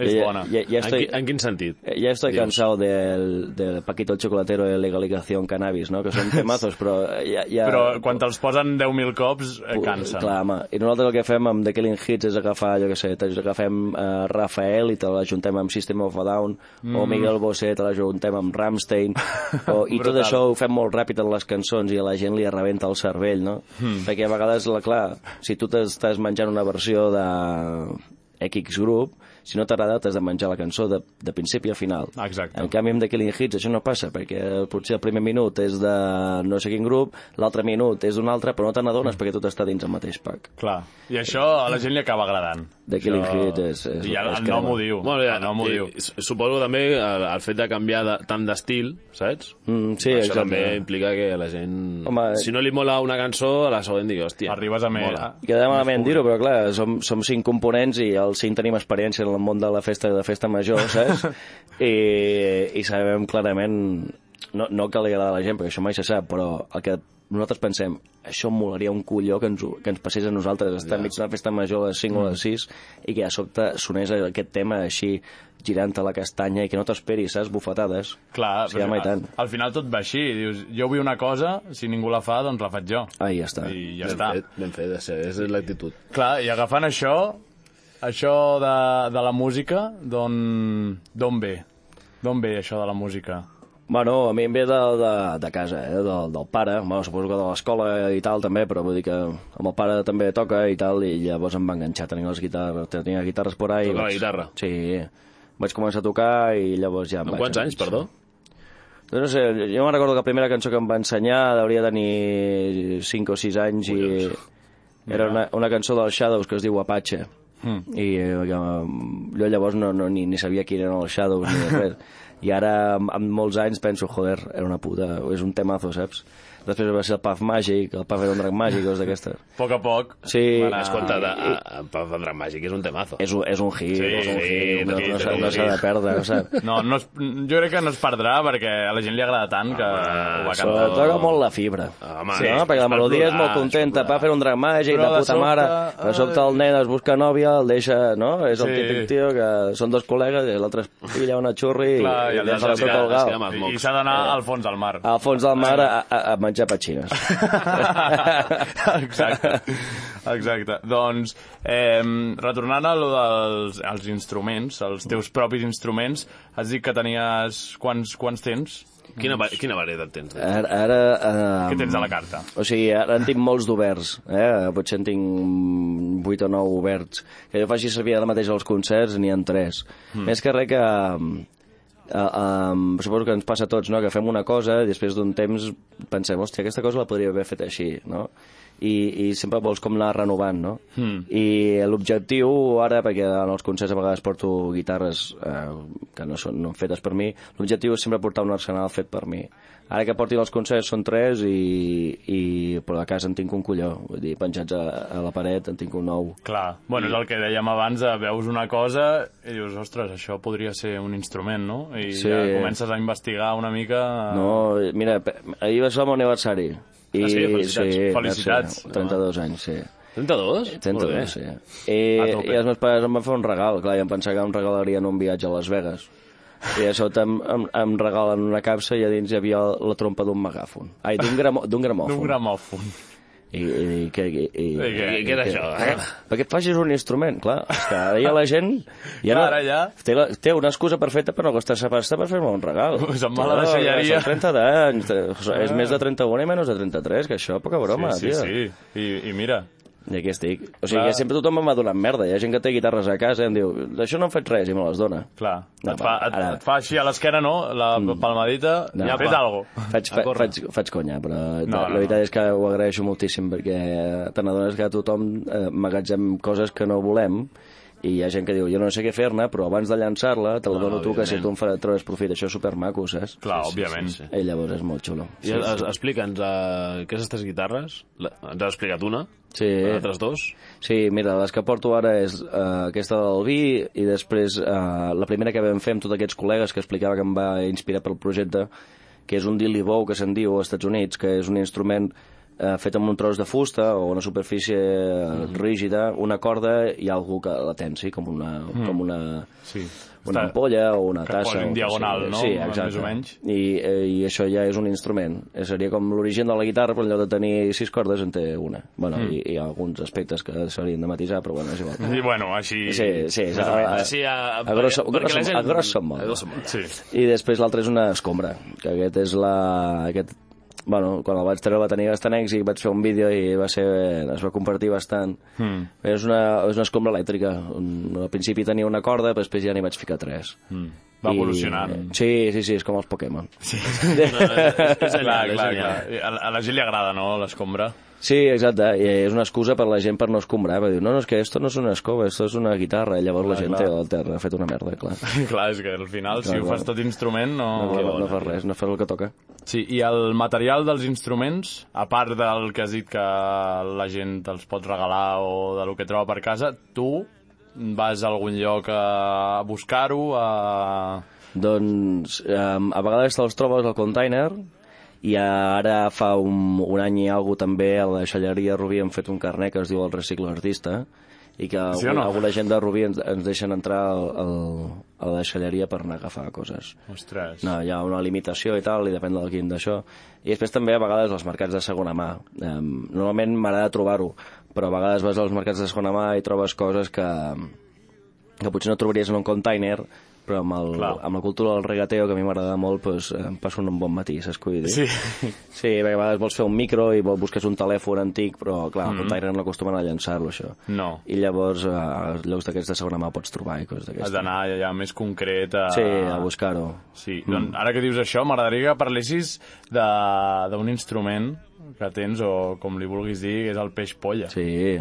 S3: És
S6: ja,
S3: bona.
S6: Ja, ja,
S4: en,
S6: estoy,
S4: qui- en quin sentit?
S6: Eh, Ya estoy cansado del, del Paquito el Chocolatero de legalización cannabis, ¿no? Que son temazos, però ja... ja
S3: Però quan te'ls posen 10.000 cops, eh, cansa.
S6: Eh, Clar, home. I nosaltres el que fem amb The Killing Hits és agafar, jo què sé, te- agafem eh, Rafael i te l'ajuntem amb System of a Down,
S3: Mm.
S6: o Miguel Bosé te l'ajuntem amb Rammstein, o, i tot
S3: Brutal.
S6: això ho fem molt ràpid en les cançons i a la gent li arrebenta el cervell, no?
S3: Hmm.
S6: Mm. Perquè a vegades, la, clar, si tu t'estàs menjant una versió de X grup, si no t'agrada t'has de menjar la cançó de, de principi a final.
S3: Exacte.
S6: En canvi, amb The Killing Hits això no passa, perquè potser el primer minut és de no sé quin grup, l'altre minut és d'un altre, però no te n'adones
S3: Mm.
S6: perquè tot està dins el mateix pack.
S3: Clar. I això a la gent li acaba agradant.
S6: The Killing Hits és- és-
S3: I el,
S6: és
S3: el nom
S6: crema.
S3: ho diu.
S4: Bueno, ja,
S3: el nom ho
S4: i-
S3: diu.
S4: i s- Suposo també el, el fet de canviar de, tant d'estil, saps?
S6: Mm, sí,
S4: Això
S6: exacte.
S4: també implica que la gent...
S6: Home,
S4: si no li mola una cançó, a la següent digui, hòstia...
S3: Arribes a més.
S4: mola.
S6: Queda malament dir-ho, però clar, som, som cinc components i els cinc tenim experiència en el món de la festa de festa major, saps? I, i sabem clarament, no, no que li agrada a la gent, perquè això mai se sap, però el que nosaltres pensem, això molaria un colló que ens, ho- que ens passés a nosaltres, estar enmig d'una festa major a les 5 o
S3: Mm.
S6: a les 6 i que de sobte sonés aquest tema així girant-te la castanya i que no t'esperis, saps? Bufetades.
S3: Clar,
S6: sí, home, i tant.
S3: al, al final tot va així. Dius, jo vull una cosa, si ningú la fa, doncs la faig jo.
S6: Ah, ja està.
S3: I ja
S4: Ben
S3: està.
S4: Fet, ben fet, això és l'actitud.
S3: Clar, i agafant això, això de, de la música, d'on d'on ve? D'on ve això de la música?
S6: Bueno, a mi em ve de, de, de casa, eh? del, del pare, bueno, suposo que de l'escola i tal també, però vull dir que amb el pare també toca i tal, i llavors em va enganxar, tenia les guitarres, tenia guitarres por ahí.
S4: Toca la
S6: vaig-
S4: guitarra.
S6: Sí, vaig començar a tocar i llavors ja em
S4: Amb
S6: vaig...
S4: quants anys,
S6: enganxar.
S4: perdó?
S6: Doncs no sé, jo me'n recordo que la primera cançó que em va ensenyar devia tenir 5 o 6 anys i era una, una cançó dels Shadows que es diu Apache.
S4: Hmm.
S6: Mm. I eh, jo, jo llavors no, no, ni, ni sabia qui eren els Shadows ni res. I ara, amb- amb molts anys, penso, joder, era una puta, és un temazo, saps? Després va ser el Puff Màgic, el Puff era un drac màgic, coses d'aquestes.
S3: A poc a poc...
S6: Sí, Eh,
S4: Ah, Escolta, de, a, a, Pau Vendrà Màgic és un temazo.
S6: és un, és un hit,
S4: Sí,
S6: és un
S4: sí,
S6: hit, no,
S4: sí,
S6: no,
S4: sí,
S6: s'ha- no
S4: sí.
S6: s'ha de perdre, no saps?
S3: No, no es, jo crec que no es perdrà perquè a la gent li agrada tant que
S6: Ah,
S3: ho va
S6: Però
S3: cantar.
S6: toca molt la fibra.
S4: Home,
S6: sí,
S4: és
S6: no? Perquè
S4: per
S6: la melodia és
S4: plorar,
S6: molt
S4: és per
S6: contenta,
S4: plorar.
S6: va fer un drac màgic
S3: Però
S6: de
S3: de
S6: puta
S3: sobte,
S6: mare, de sobte el nen es busca nòvia, el deixa, no? És el
S3: Sí.
S6: típic tio que són dos col·legues, i l'altre es pilla una xurri
S3: Clar, i
S6: i, i
S3: el
S6: deixa la
S3: deixa
S6: sota
S4: tirar,
S6: el
S4: es
S6: gal. Ah.
S4: queda
S3: I, i s'ha d'anar al fons del mar.
S6: Al fons del mar a, a, a menjar petxines.
S3: Exacte. Exacte. Doncs, eh, retornant a lo dels als instruments, als teus propis instruments, has dit que tenies... Quants, quants tens?
S4: Quina, va- quina varietat tens? Eh?
S6: Ara... ara
S3: Què
S6: eh,
S3: tens a la carta?
S6: O sigui, ara en tinc molts d'oberts, eh? potser en tinc 8 o 9 oberts, que jo faci servir ara mateix als concerts n'hi ha 3. Mm. Més que res que... Uh, um, suposo que ens passa a tots, no? que fem una cosa i després d'un temps pensem, hòstia, aquesta cosa la podria haver fet així, no? I, i sempre vols com anar renovant, no?
S4: Hmm.
S6: Mm. I l'objectiu ara, perquè en els concerts a vegades porto guitarres eh, que no són no fetes per mi, l'objectiu és sempre portar un arsenal fet per mi. Ara que portin els concerts són tres i, i però a casa en tinc un colló, vull dir, penjats a, a la paret en tinc un nou.
S3: Clar. Bueno, és el que dèiem abans, eh, veus una cosa i dius, ostres, això podria ser un instrument, no? I
S6: Sí.
S3: ja comences a investigar una mica... eh,
S6: No, mira, pe- ahir va ser el meu aniversari. I,
S4: Ah, sí? Felicitats.
S6: va ser
S3: Felicitats.
S6: 32 anys, sí.
S4: 32?
S6: 32, sí. I,
S4: A tope.
S6: I els meus pares em van fer un regal, clar, i em pensava que em regalarien un viatge a Las Vegas. I a sota em, em, em regalen una capsa i a dins hi havia la trompa d'un megàfon. Ai, d'un gramo, d'un
S3: D'un
S6: gramòfon.
S3: gramòfon.
S6: I, i, i, que- i, i,
S3: I què?
S4: I què era això?
S6: Eh? Perquè et facis un instrument, clar. És que ara ja la gent... Ja no,
S3: Ara ja.
S6: Té, la, té una excusa perfecta per no gastar-se pasta per fer-me un regal.
S3: Se'n va a la
S6: No,
S3: deixalleria. Ah.
S6: Són 30 d'anys. eh, És més de 31 i menys de 33, que això, poca broma,
S3: sí, sí,
S6: tio.
S3: sí. I, I mira,
S6: I aquí estic. O sigui, que sempre tothom em va donant merda. Hi ha gent que té guitarres a casa i em diu això no em faig res i me les dona.
S3: Clar,
S6: No,
S3: et, fa, et,
S6: ara- Mm.
S3: et fa així a l'esquena, no? La palmadita,
S6: No,
S3: ja
S6: va.
S3: fes algo.
S6: Faig,
S3: A
S6: fa,
S3: córrer.
S6: faig, faig conya, però
S3: No,
S6: no,
S3: Ah, no,
S6: la veritat és que ho agraeixo moltíssim perquè te n'adones que tothom eh, magatzem coses que no volem i hi ha gent que diu, jo no sé què fer-ne, però abans de llançar-la te la
S4: No,
S6: dono
S4: no,
S6: tu, que si
S4: evidentment.
S6: tu em faràs trobes profit. Això és supermaco, saps?
S3: Clar,
S4: Sí, sí,
S3: òbviament.
S4: sí, sí.
S6: I llavors és molt xulo.
S4: I es- es- explica'ns eh, aquestes tres guitarres. La, ens has explicat una,
S6: Sí.
S4: les altres dos.
S6: Sí, mira, les que porto ara és eh, aquesta del vi i després eh, la primera que vam fer amb tots aquests col·legues que explicava que em va inspirar pel projecte, que és un dilly bow que se'n diu als Estats Units, que és un instrument eh, fet amb un tros de fusta o una superfície
S3: Mhm.
S6: mm. rígida, una corda i algú que la tensi, com una, mm. com una,
S3: Mhm. Sí.
S6: una
S3: Està-
S6: ampolla o una
S3: que
S6: tassa.
S3: posi en
S6: o-
S3: diagonal, no?
S6: Sí,
S3: Més
S6: exacte.
S3: o menys.
S6: I, eh, I això ja és un instrument. Eh, Seria com l'origen de la guitarra, però en lloc de tenir sis cordes en té una. Bueno, mm. i, i alguns aspectes que s'haurien de matisar, però bueno, és igual.
S3: I bueno, així... Ah,
S6: Sí, sí, és a, a,
S4: Així, a,
S6: a, grosso,
S4: perquè- perquè la
S6: grosso,
S4: gent-
S6: a grosso modo.
S4: A grosso modo.
S3: Sí.
S6: I després l'altre és una escombra, que aquest és la... Aquest, bueno, quan el vaig treure va tenir bastant èxit, vaig fer un vídeo i va ser, es va compartir bastant. Mm. És, una, és una escombra elèctrica. Un, al principi tenia una corda, però després ja n'hi vaig ficar tres. Mm.
S3: Va evolucionant.
S6: Sí, sí, sí, és com els Pokémon. Sí, eh,
S4: És
S3: Clar, clar,
S4: genial, és
S3: clar.
S4: genial.
S3: A, la- a la gent li agrada, no?, l'escombra.
S6: sí exacte. I és una excusa per la gent per no escombrar. Per dir, no, no, és que esto no és una escoba, esto és una guitarra. I llavors clar, Ah, la gent
S3: clar.
S6: té el terra, ha fet una merda, clar.
S3: Clar, és que al final, si
S6: Clar,
S3: ho
S6: clar.
S3: fas tot instrument, no...
S6: No, no, no fas res, no fas el que toca.
S3: Sí, i el material dels instruments, a part del que has dit que la gent te'ls pot regalar o de lo que troba per casa, tu vas a algun lloc a buscar-ho, a...
S6: Doncs um, a vegades te'ls trobes al container i ara fa un, un any i alguna també a la xalleria Rubí hem fet un carnet que es diu el Reciclo Artista i que
S3: Sí
S6: sí
S3: o
S6: no?
S3: no?
S6: alguna gent de Rubí ens, ens deixen entrar al, al, a la xalleria per anar a agafar coses.
S3: Ostres.
S6: No, hi ha una limitació i tal, i depèn del quin d'això. I després també a vegades els mercats de segona mà. Um, normalment m'agrada trobar-ho, però a vegades vas als mercats de segona mà i trobes coses que, que potser no trobaries en un container, però amb, el,
S3: Clar.
S6: amb la cultura del regateo, que a mi m'agrada molt, doncs, em passo un bon matí, saps què vull dir?
S3: Sí.
S6: sí, perquè a vegades vols fer un micro i vols busques un telèfon antic, però clar,
S3: Mm-hmm.
S6: mm -hmm. el container no acostumen a llançar-lo, això.
S3: No.
S6: I llavors, eh, als llocs d'aquests de segona mà pots trobar i
S3: Has
S6: coses d'aquestes.
S3: d'anar allà més concret a...
S6: Sí, a buscar-ho.
S3: Sí, doncs ara que dius això, m'agradaria que parlessis de- d'un instrument que tens, o com li vulguis dir, que és el peix polla.
S6: Sí.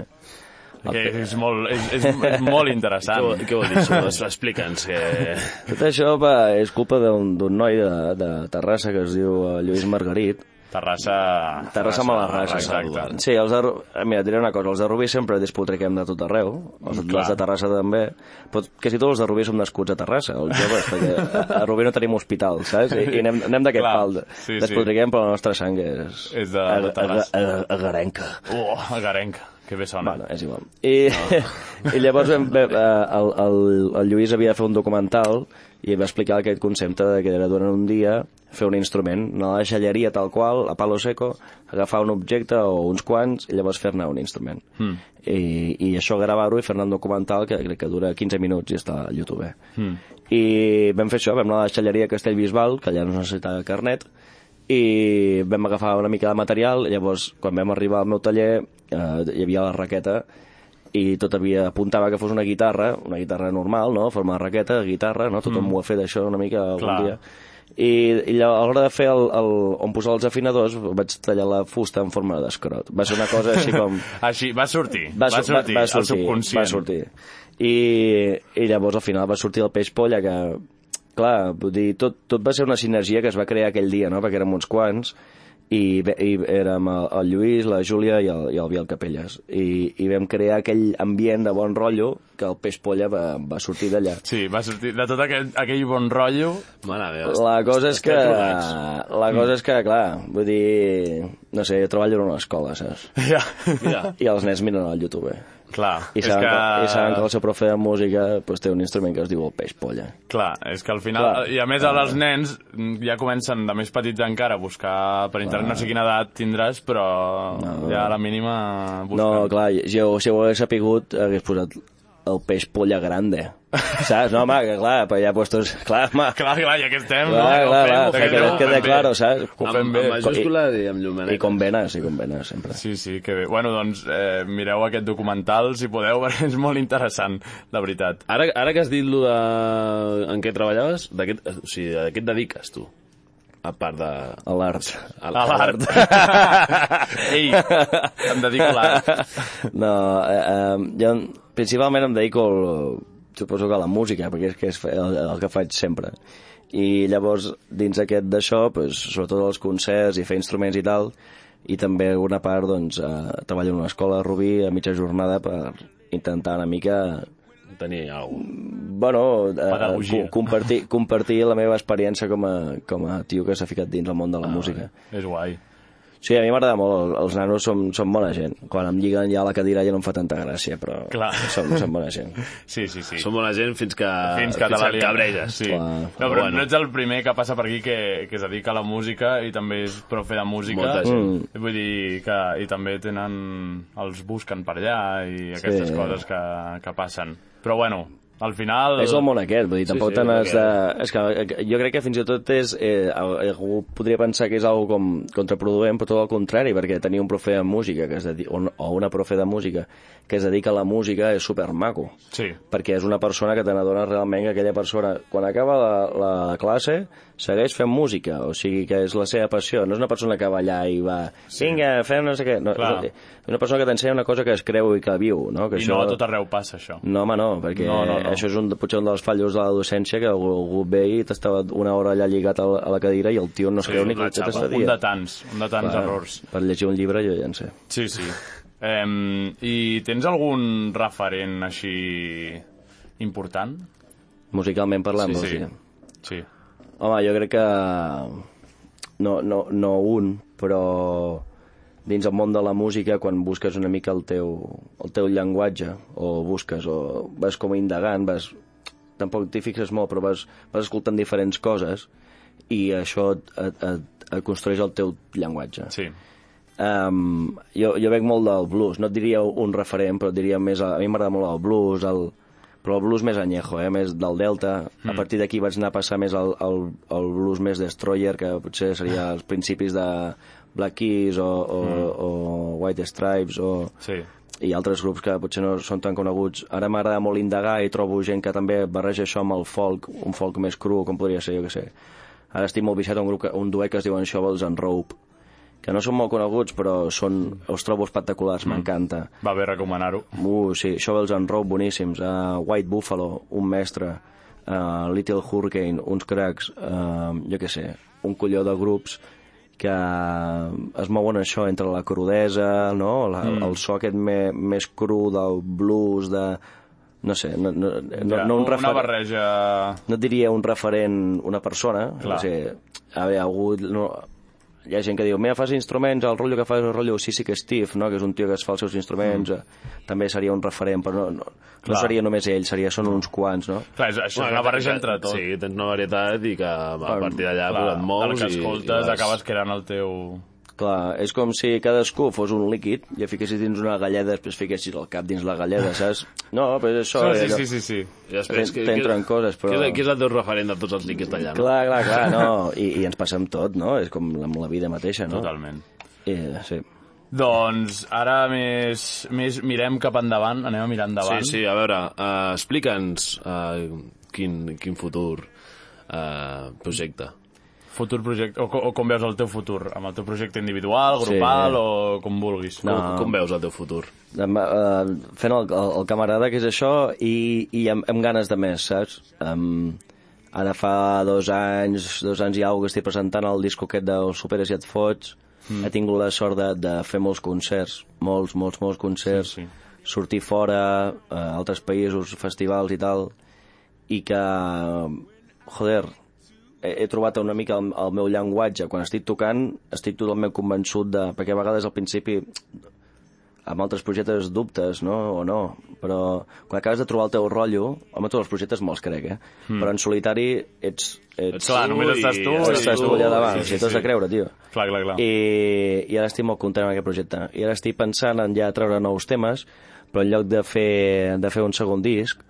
S3: que és, molt, és, és, és molt
S4: Què,
S3: interessant.
S4: vol- què vol dir això? Explica'ns. Que...
S6: Tot això va, és culpa d'un d'un noi de, de Terrassa que es diu eh, Lluís Margarit.
S3: Terrassa...
S6: Terrassa amb la raça.
S3: Exacte.
S6: Sí, els de, Ru- eh, mira, et diré una cosa, els de Rubí sempre despotriquem de tot arreu, els, de-
S3: Clar.
S6: els de Terrassa també, però quasi tots els de Rubí som nascuts a Terrassa, els joves, perquè a- a Rubí no tenim hospital, saps? I, i anem, anem d'aquest
S3: Clar.
S6: pal.
S3: Sí, sí.
S6: despotriquem, però la nostra sang és...
S3: És de-
S6: a-
S3: de Terrassa.
S6: a- a- a- Agarenca.
S3: Uh, el garenc, que bé sona.
S6: Bueno, és igual. I, no. i llavors vam, vam, eh, el, el, el Lluís havia de fer un documental i va explicar aquest concepte de que era durant un dia fer un instrument, anar a la xalleria tal qual, a palo seco, agafar un objecte o uns quants i llavors fer-ne un instrument. Mm. I, I això gravar-ho i fer-ne un documental que crec que dura 15 minuts i està a YouTube. Mm. I vam fer això, vam anar a la xalleria Castellbisbal, que allà no es necessitava carnet, i vam agafar una mica de material llavors quan vam arribar al meu taller eh, hi havia la raqueta i tot havia, apuntava que fos una guitarra una guitarra normal, no? forma de raqueta guitarra, no? tothom mm. ho ha fet això una mica algun
S3: Clar.
S6: dia i, i llavors, a l'hora de fer el, el, on posar els afinadors vaig tallar la fusta en forma d'escrot va ser una cosa així com
S3: Així, va sortir,
S6: va,
S3: va,
S6: sur-
S3: sortir,
S6: va, va
S3: el
S6: sortir,
S3: subconscient.
S6: va sortir. I, I llavors al final va sortir el peix polla que, clar, vull dir, tot, tot va ser una sinergia que es va crear aquell dia, no? perquè érem uns quants, i, ve- i érem el, el Lluís, la Júlia i el, i el Biel Capelles. I, I vam crear aquell ambient de bon rotllo que el peix polla va, va sortir d'allà.
S3: Sí, va sortir de tot aquell, aquell bon rotllo.
S4: Mare meva.
S6: La cosa és que...
S4: estem trobats.
S6: La cosa és que, clar, vull dir... No sé, jo treballo en una escola, saps?
S3: Ja.
S4: Mira,
S6: I els nens miren al YouTube.
S3: Clar,
S6: I
S3: és
S6: saben,
S3: que...
S6: que... I saben que el seu profe de música pues, té un instrument que es diu el peix polla.
S3: Clar, és que al final...
S6: Clar.
S3: I a més, ara els nens mm, ja comencen de més petits encara a buscar per internet, no sé quina edat tindràs, però ja a la mínima
S6: No,
S3: busquen.
S6: clar, jo, si ho hagués sapigut, hagués posat el peix polla grande. Saps? No, home, que clar, però ja puestos... Clar, home,
S3: Clar, clar, ja que estem,
S6: Clar,
S3: no?
S6: clar,
S3: Ho fem,
S6: clar,
S3: ho
S6: que
S3: fem
S6: quede-
S3: bé, ho
S6: quede
S3: fem bé.
S6: claro, saps?
S3: Ho fem
S4: Amb,
S3: bé.
S4: amb majúscules i amb eh?
S6: i
S4: llumeneta.
S6: com venes, i com venes, sempre.
S3: Sí, sí, que bé. Bueno, doncs eh, mireu aquest documental, si podeu, perquè és molt interessant, la veritat.
S4: Ara, ara que has dit lo de... en què treballaves, de què, o sigui, de què et dediques, tu? A part de...
S6: A l'art.
S4: A
S3: A l'art. Ei, em dedico a l'art.
S6: No, eh, eh, jo principalment em dedico, al, suposo que a la música, perquè és que és el, el que faig sempre. I llavors, dins aquest d'això, pues, sobretot els concerts i fer instruments i tal, i també una part, doncs, eh, treballo en una escola a Rubí a mitja jornada per intentar una mica
S4: Tenir alguna
S6: bueno, eh,
S3: Pedagogia.
S6: co- compartir, compartir la meva experiència com a, com a tio que s'ha ficat dins el món
S4: Ah,
S6: de la música.
S3: És guai.
S6: Sí, a mi m'agrada molt, els nanos som, som bona gent. Quan em lliguen ja a la cadira ja no em fa tanta gràcia, però
S3: Clar.
S6: som, som bona gent.
S3: Sí, sí, sí.
S4: Som bona gent fins que...
S3: fins que te la
S4: que
S3: lien.
S4: cabreges.
S3: Sí.
S6: Clar.
S3: No, però bueno. no ets el primer que passa per aquí que, que es dedica a la música i també és profe de música.
S4: Molta gent.
S3: Mm. Vull dir que i també tenen... els busquen per allà i aquestes
S6: Sí.
S3: coses que, que passen. Però bueno, al final...
S6: És el món aquest, vull dir,
S4: sí,
S6: tampoc sí, te n'has
S4: és
S6: de... És que eh, jo crec que fins i tot és... Eh, al- algú podria pensar que és algo com contraproduent, però tot el contrari, perquè tenir un profe de música que es dedica, o un- o una profe de música que es dedica a la música és supermaco.
S3: Sí.
S6: perquè és una persona que te n'adones realment que aquella persona, quan acaba la, la classe, segueix fent música, o sigui que és la seva passió, no és una persona que va allà i va, vinga, fem no sé què, no,
S3: Clar.
S6: és una persona que t'ensenya una cosa que es creu i que viu, no? Que
S3: I no a tot arreu passa, això.
S6: No, home, no, perquè
S3: No, no, no.
S6: això és un, potser un dels fallos de la docència que algú, algú ve i t'estava una hora allà lligat a la, a la cadira i el tio no es creu ni que
S4: una
S6: t'està
S4: xapa,
S3: Un de
S6: dient.
S3: tants, un de tants errors.
S6: Per llegir un llibre jo ja en sé.
S3: Sí, sí. Um, I tens algun referent així important?
S6: Musicalment parlant, vols
S3: sí.
S6: dir?
S3: Sí.
S6: Home, jo crec que... No, no, no un, però dins el món de la música, quan busques una mica el teu, el teu llenguatge, o busques, o vas com indagant, vas... Tampoc t'hi fixes molt, però vas, vas escoltant diferents coses i això et, et, et, et construeix el teu llenguatge.
S3: Sí.
S6: Um, jo, jo veig molt del blues, no et diria un referent, però et diria més... A, a mi m'agrada molt el blues, el, però el blues més anyejo, eh? més del Delta. Mm. A partir d'aquí vaig anar a passar més al, al, al blues més Destroyer, que potser seria els principis de Black Keys o, o, mm. o White Stripes o
S3: Sí.
S6: i altres grups que potser no són tan coneguts. Ara m'agrada molt indagar i trobo gent que també barreja això amb el folk, un folk més cru, com podria ser, jo que sé. Ara estic molt viciat a un, grup que, un duet que es diuen Shovels and Rope, que no són molt coneguts, però són, els trobo espectaculars, m'encanta. Mm.
S3: Va bé recomanar-ho.
S6: Uh, sí, Shovels and Rope, boníssims. Uh, White Buffalo, un mestre. Uh, Little Hurricane, uns cracs. Uh, jo què sé, un colló de grups que eh, es mouen això entre la crudesa, no? La, mm. el so aquest me, més cru del blues, de... No sé, no, no, no,
S3: Ja,
S6: no un
S3: una
S6: refer-
S3: barreja...
S6: no et diria un referent, una persona,
S3: Clar.
S6: o sigui, a veure, algú... No, hi ha gent que diu, mira, fas instruments, el rotllo que fas és el rotllo sí, sí que Steve, no? que és un tio que es fa els seus instruments, mm. també seria un referent, però no, no, no
S3: Clar.
S6: seria només ell, seria, són uns quants, no?
S3: Clar, és, això és una barreja entre tot.
S4: Sí, tens una varietat i que a partir d'allà
S3: Clar,
S4: pues, et
S3: el
S4: mous
S3: que escoltes
S4: i, i
S3: acabes creant el teu...
S6: Clar, és com si cadascú fos un líquid i et fiquessis dins una galleda, després fiquessis el cap dins la galleda, saps? No, però és això...
S3: No,
S6: eh,
S3: sí,
S6: allò-
S3: sí, sí, sí.
S4: I després,
S6: T'en- t'entren coses, però-
S4: Qui, qui és el teu referent de tots els líquids d'allà? No?
S6: Clar, clar, clar, no, i, i ens passa amb tot, no? És com amb la vida mateixa, no?
S3: Totalment.
S6: Eh, sí.
S3: Doncs ara més, més mirem cap endavant, anem a mirar endavant.
S4: Sí, sí, a veure, uh, explica'ns uh, quin, quin futur uh, projecte.
S3: Futur projecte, o, co- o com veus el teu futur, amb el teu projecte individual, grupal sí. o com vulguis.
S4: No. Com, com veus el teu futur?
S6: Em, eh, fent el, el, el camarada, que és això, i, i amb, amb ganes de més, saps? Um, ara fa dos anys, dos anys i alguna que estic presentant el disco aquest del Superes i et fots. Mm. He tingut la sort de, de fer molts concerts, molts, molts, molts concerts.
S3: Sí, sí.
S6: Sortir fora, a altres països, festivals i tal. I que, joder, he, he trobat una mica el, el meu llenguatge. Quan estic tocant, estic totalment convençut de... Perquè a vegades al principi amb altres projectes dubtes, no? O no. Però quan acabes de trobar el teu rotllo, home, tots els projectes me'ls crec, eh? Mm. Però en solitari ets... ets
S3: Hmm. Clar,
S4: tu
S3: només
S4: i
S3: estàs tu
S4: estàs
S3: i-
S6: Estàs tu allà davant,
S3: Sí, sí,
S6: sí, sí, t'has
S3: sí.
S6: de creure, tio.
S3: Clar, clar, clar.
S6: I, I ara estic molt content amb aquest projecte. I ara estic pensant en ja treure nous temes, però en lloc de fer, de fer un segon disc,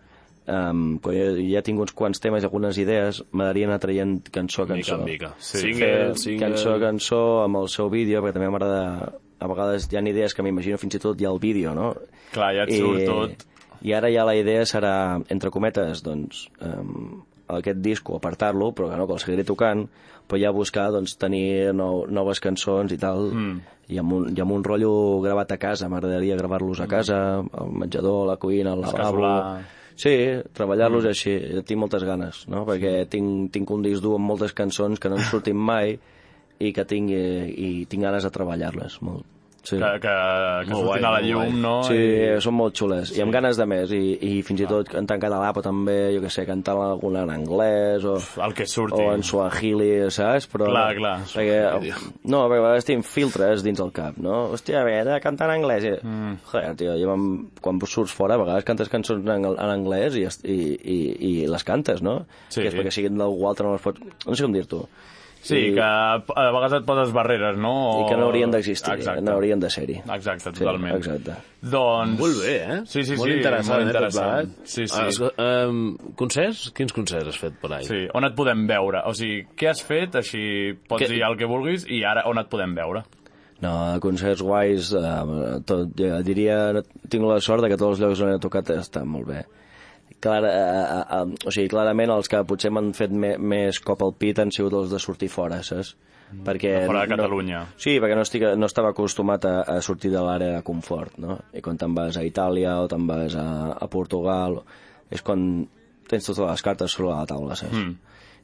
S6: Um, quan jo ja tinc uns quants temes i algunes idees, m'agradaria anar traient cançó a
S4: Mica
S6: cançó.
S4: en mica.
S6: Fer
S4: Single, single...
S6: Cançó a cançó amb el seu vídeo, perquè també m'agrada... A vegades hi ha idees que m'imagino fins i tot hi ha el vídeo, no?
S3: Clar, ja et surt tot.
S6: I ara ja la idea serà, entre cometes, doncs, um, aquest disc o apartar-lo, però que no, que el seguiré tocant, però ja buscar doncs, tenir nou, noves cançons i tal, mm. i, amb un, i amb un rotllo gravat a casa, m'agradaria gravar-los a casa, al menjador, a la cuina, al lavabo...
S3: casolà.
S6: Sí, treballar-los mm. així, tinc moltes ganes, no? perquè tinc, tinc un disc dur amb moltes cançons que no en sortim mai i que tinc, eh, i tinc ganes de treballar-les molt. Sí.
S3: Que, que, que
S4: Molt
S3: surtin
S4: guai,
S3: a la
S4: molt
S3: llum,
S4: guai.
S3: no?
S6: Sí, són molt xules, i amb ganes de més, i, i fins i tot cantar en català, però també, jo que sé, cantar alguna en anglès, o,
S3: El que surti.
S6: o en suahili, saps? Però,
S3: Clar, clar.
S6: Perquè, no, perquè a vegades tinc filtres dins el cap, no? Hòstia, a veure, cantar en anglès... Mm. Joder, tio, jo vam, quan surts fora, a vegades cantes cançons en, ang- en anglès i, est- i, i, i les cantes, no?
S3: Sí.
S6: Que és perquè siguin d'algú altre, no les pots... No sé com dir-t'ho.
S3: Sí,
S6: I-
S3: que a vegades et poses barreres, no? O...
S6: I que no haurien d'existir,
S3: Oh,
S6: eh,
S3: Exacte.
S6: no haurien de ser-hi.
S3: Exacte,
S6: Sí,
S3: totalment.
S6: exacte.
S3: Doncs...
S4: Molt bé, eh?
S3: Sí, sí,
S4: molt
S3: sí.
S4: Interessant,
S3: molt interessant.
S4: Eh,
S3: Sí, sí.
S4: Uh, concerts? Quins concerts has fet per ahí?
S3: Sí, on et podem veure? O sigui, què has fet? Així pots
S4: Què-
S3: dir el que vulguis i ara on et podem veure?
S6: No, de concerts guais, eh, tot, jo diria, tinc la sort de que tots els llocs on he tocat estan molt bé. Clar, eh, eh, eh, o sigui, clarament els que potser m'han fet me, més cop al pit han sigut els de sortir fora, saps? Perquè
S3: Mm. De fora de
S6: no-
S3: Catalunya.
S6: sí, perquè no, estic, no estava acostumat a, a sortir de l'àrea de confort, no? I quan te'n vas a Itàlia o te'n vas a, a Portugal, és quan tens totes les cartes sobre la taula, saps? Mm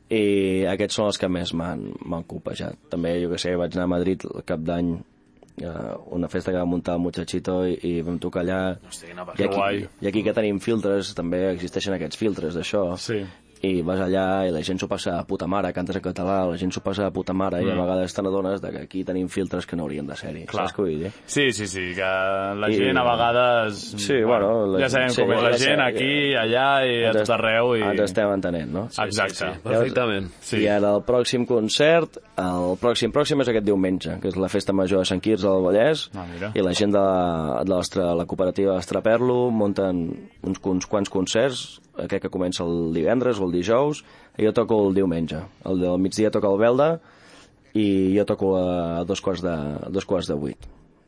S6: i aquests són els que més m'han m'han copejat. També, jo que sé, vaig anar a Madrid el cap d'any eh, una festa que va muntar el Muchachito i, i vam tocar allà
S4: Hosti, quina
S6: i
S4: passada.
S6: aquí,
S3: guai.
S6: i aquí que tenim filtres també existeixen aquests filtres d'això
S3: Sí.
S6: i vas allà i la gent s'ho passa de puta mare cantes en català, la gent s'ho passa de puta mare i a vegades te n'adones de que aquí tenim filtres que no haurien de ser-hi,
S3: Mm. Clar.
S6: saps què vull dir?
S3: Sí, sí, sí, que la
S6: I-
S3: gent a vegades...
S6: Sí, bueno, la
S3: ja sabem
S6: gent-
S3: com
S6: sí,
S3: és la
S6: ja
S3: gent,
S6: sabem,
S3: aquí, allà i a
S6: Ens
S3: tot
S6: est-
S3: arreu. I...
S6: Ens estem entenent, no?
S3: Exacte.
S4: Eh, Perfectament.
S3: Sí.
S6: I ara el pròxim concert, el pròxim pròxim és aquest diumenge, que és la festa major de Sant Quirze del Vallès,
S3: Ah, mira.
S6: i la gent de la, de la, la cooperativa Estraperlo munten uns, uns quants concerts, eh, crec que comença el divendres o el dijous, i jo toco el diumenge. El del migdia toca el Belda, i jo toco a dos quarts de, a dos quarts de vuit.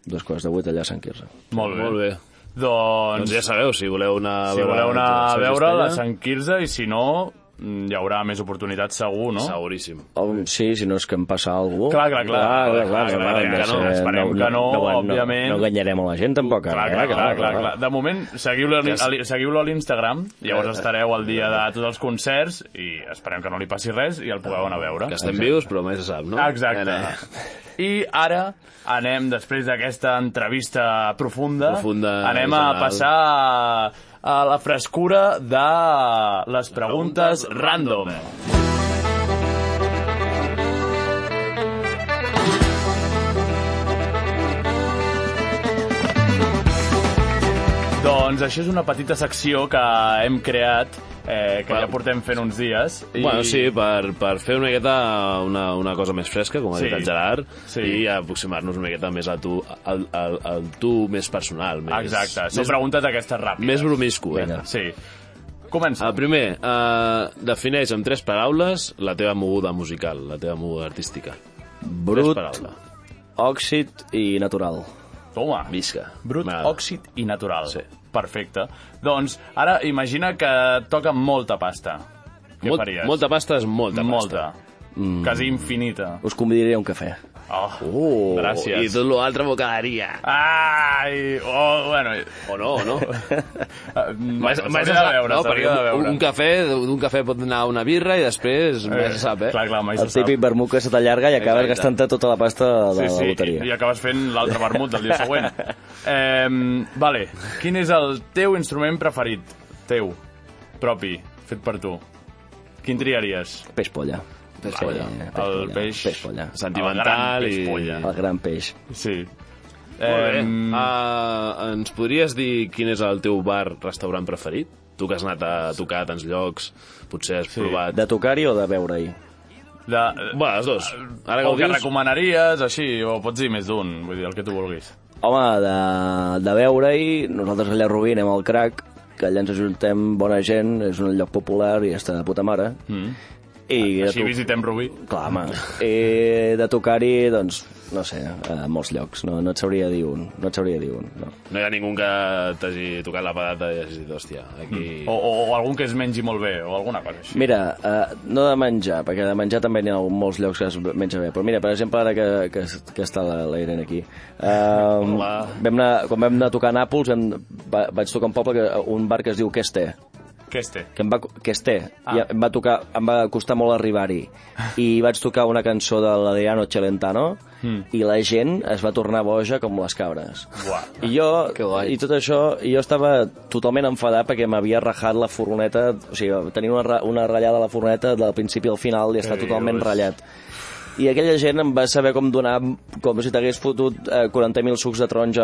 S6: Dos quarts de vuit allà a Sant Quirze.
S3: Molt bé.
S4: Molt bé.
S3: Doncs,
S4: Doncs ja sabeu, si doncs voleu anar a
S3: si
S4: veure...
S3: voleu anar a
S4: Sergi
S3: veure la
S4: Estella,
S3: Sant Quirze i si no, mm, hi haurà més oportunitats segur, no?
S4: Seguríssim.
S6: Oh, sí, si no és que em passa alguna cosa.
S3: Clar, clar, clar. Clar, clar,
S6: no,
S3: clar,
S6: no,
S3: clar,
S6: no,
S3: esperem que no,
S6: no,
S3: òbviament.
S6: No, no enganyarem a la gent, tampoc.
S3: Clar,
S6: eh?
S3: clar, clar, clar, clar. De moment, seguiu-lo
S4: Que és-
S3: a l'I- seguiu-lo a l'Instagram,
S4: Eh,
S3: llavors estareu al dia de tots els concerts i esperem que no li passi res i el pugueu anar a veure.
S4: Ah, Que estem vius, però mai se sap, no?
S3: Ah, Exacte.
S4: Ara,
S3: I ara anem, després d'aquesta entrevista profunda,
S4: Profunda,
S3: anem a
S4: general.
S3: passar a, a la frescura de les preguntes random. Doncs això és una petita secció que hem creat, eh, que ja portem fent uns dies.
S4: I... Bueno, sí, per, per fer una miqueta una, una cosa més fresca, com ha
S3: Sí.
S4: dit el Gerard,
S3: Sí.
S4: i aproximar-nos una miqueta més a tu, al, al, al tu més personal. Més,
S3: Exacte, són
S4: Més,
S3: preguntes d'aquestes ràpides.
S4: més bromiscu, eh?
S6: Vinga.
S3: Sí. Comença.
S4: El Uh, primer, eh, defineix amb tres paraules la teva moguda musical, la teva moguda artística. Tres
S6: Brut,
S4: paraules.
S6: òxid i natural.
S3: Toma.
S4: Visca.
S3: Brut,
S4: M'agrada.
S3: òxid i natural.
S4: Sí.
S3: Perfecte. Doncs ara imagina que et toca molta pasta. Què
S4: Molt,
S3: faries?
S4: molta pasta és molta,
S3: molta.
S4: pasta.
S3: Mm. Quasi infinita.
S6: Us convidaré a un cafè.
S3: Oh.
S4: Oh,
S3: Gràcies.
S4: I tot l'altre m'ho quedaria.
S3: Ai! Oh, bueno...
S4: O no, o no.
S3: Mai,
S4: se
S3: de
S4: sap,
S3: veure,
S4: no,
S3: s'hauria
S4: perquè
S3: de veure.
S4: un, un cafè, d'un cafè pot anar una birra i després mai se sap, eh?
S3: Clar, clar, mai se
S6: El
S3: sap.
S6: típic vermut que se t'allarga i acabes
S4: Exacte.
S6: gastant-te tota la pasta de la loteria.
S3: I, I acabes fent l'altre vermut del dia següent. eh, vale, quin és el teu instrument preferit? Teu, propi, fet per tu. Quin triaries?
S6: Peix polla.
S4: Peix polla.
S3: El peix...
S6: Peix polla.
S4: Sentimental
S3: el gran peix
S4: i-
S3: polla.
S6: El gran peix.
S3: Sí.
S4: Molt bé.
S3: Em,
S4: Uh, ens podries dir quin és el teu bar-restaurant preferit? Tu que has anat a tocar a tants llocs, potser has sí. provat...
S6: De tocar-hi o de veure-hi?
S3: de,
S4: Bé, els dos. Ara que
S3: o
S4: ho
S3: que
S4: dius...
S3: recomanaries, així, o pots dir més d'un, vull dir, el que tu vulguis.
S6: Home, de, de veure-hi, nosaltres allà a Rubí anem al crack que allà ens ajuntem bona gent, és un lloc popular i està de puta mare. Mm. I de
S3: Així
S6: tu-
S3: visitem Rubí.
S6: Clar, home. I de tocar-hi, doncs, no sé, a molts llocs. No, no et sabria dir un. No et sabria dir un, no.
S4: No hi ha ningú que t'hagi tocat la patata i hagi dit, hòstia, aquí...
S3: O,
S6: Oh,
S3: o, o algun que es mengi molt bé, o alguna cosa així.
S6: Mira, uh, no de menjar, perquè de menjar també n'hi ha molts llocs que es menja bé. Però mira, per exemple, ara que, que, que està la, la Irene aquí. Uh,
S4: Hola.
S6: vam anar, quan vam anar a tocar a Nàpols, vam, va, vaig tocar a un poble, que, un bar que es diu Queste.
S3: Aquest.
S6: que em va, que es té, ah. i em va, tocar, em va costar molt arribar-hi. I vaig tocar una cançó de l'Adriano Celentano mm. i la gent es va tornar boja com les cabres.
S3: Uah.
S6: I jo,
S8: guai.
S6: i tot això, i jo estava totalment enfadat perquè m'havia rajat la furgoneta, o sigui, tenia una, ra- una ratllada a la furgoneta del principi al final i està
S3: Què
S6: totalment
S3: dius?
S6: ratllat. I aquella gent em va saber com donar, com si t'hagués fotut eh, 40.000 sucs de taronja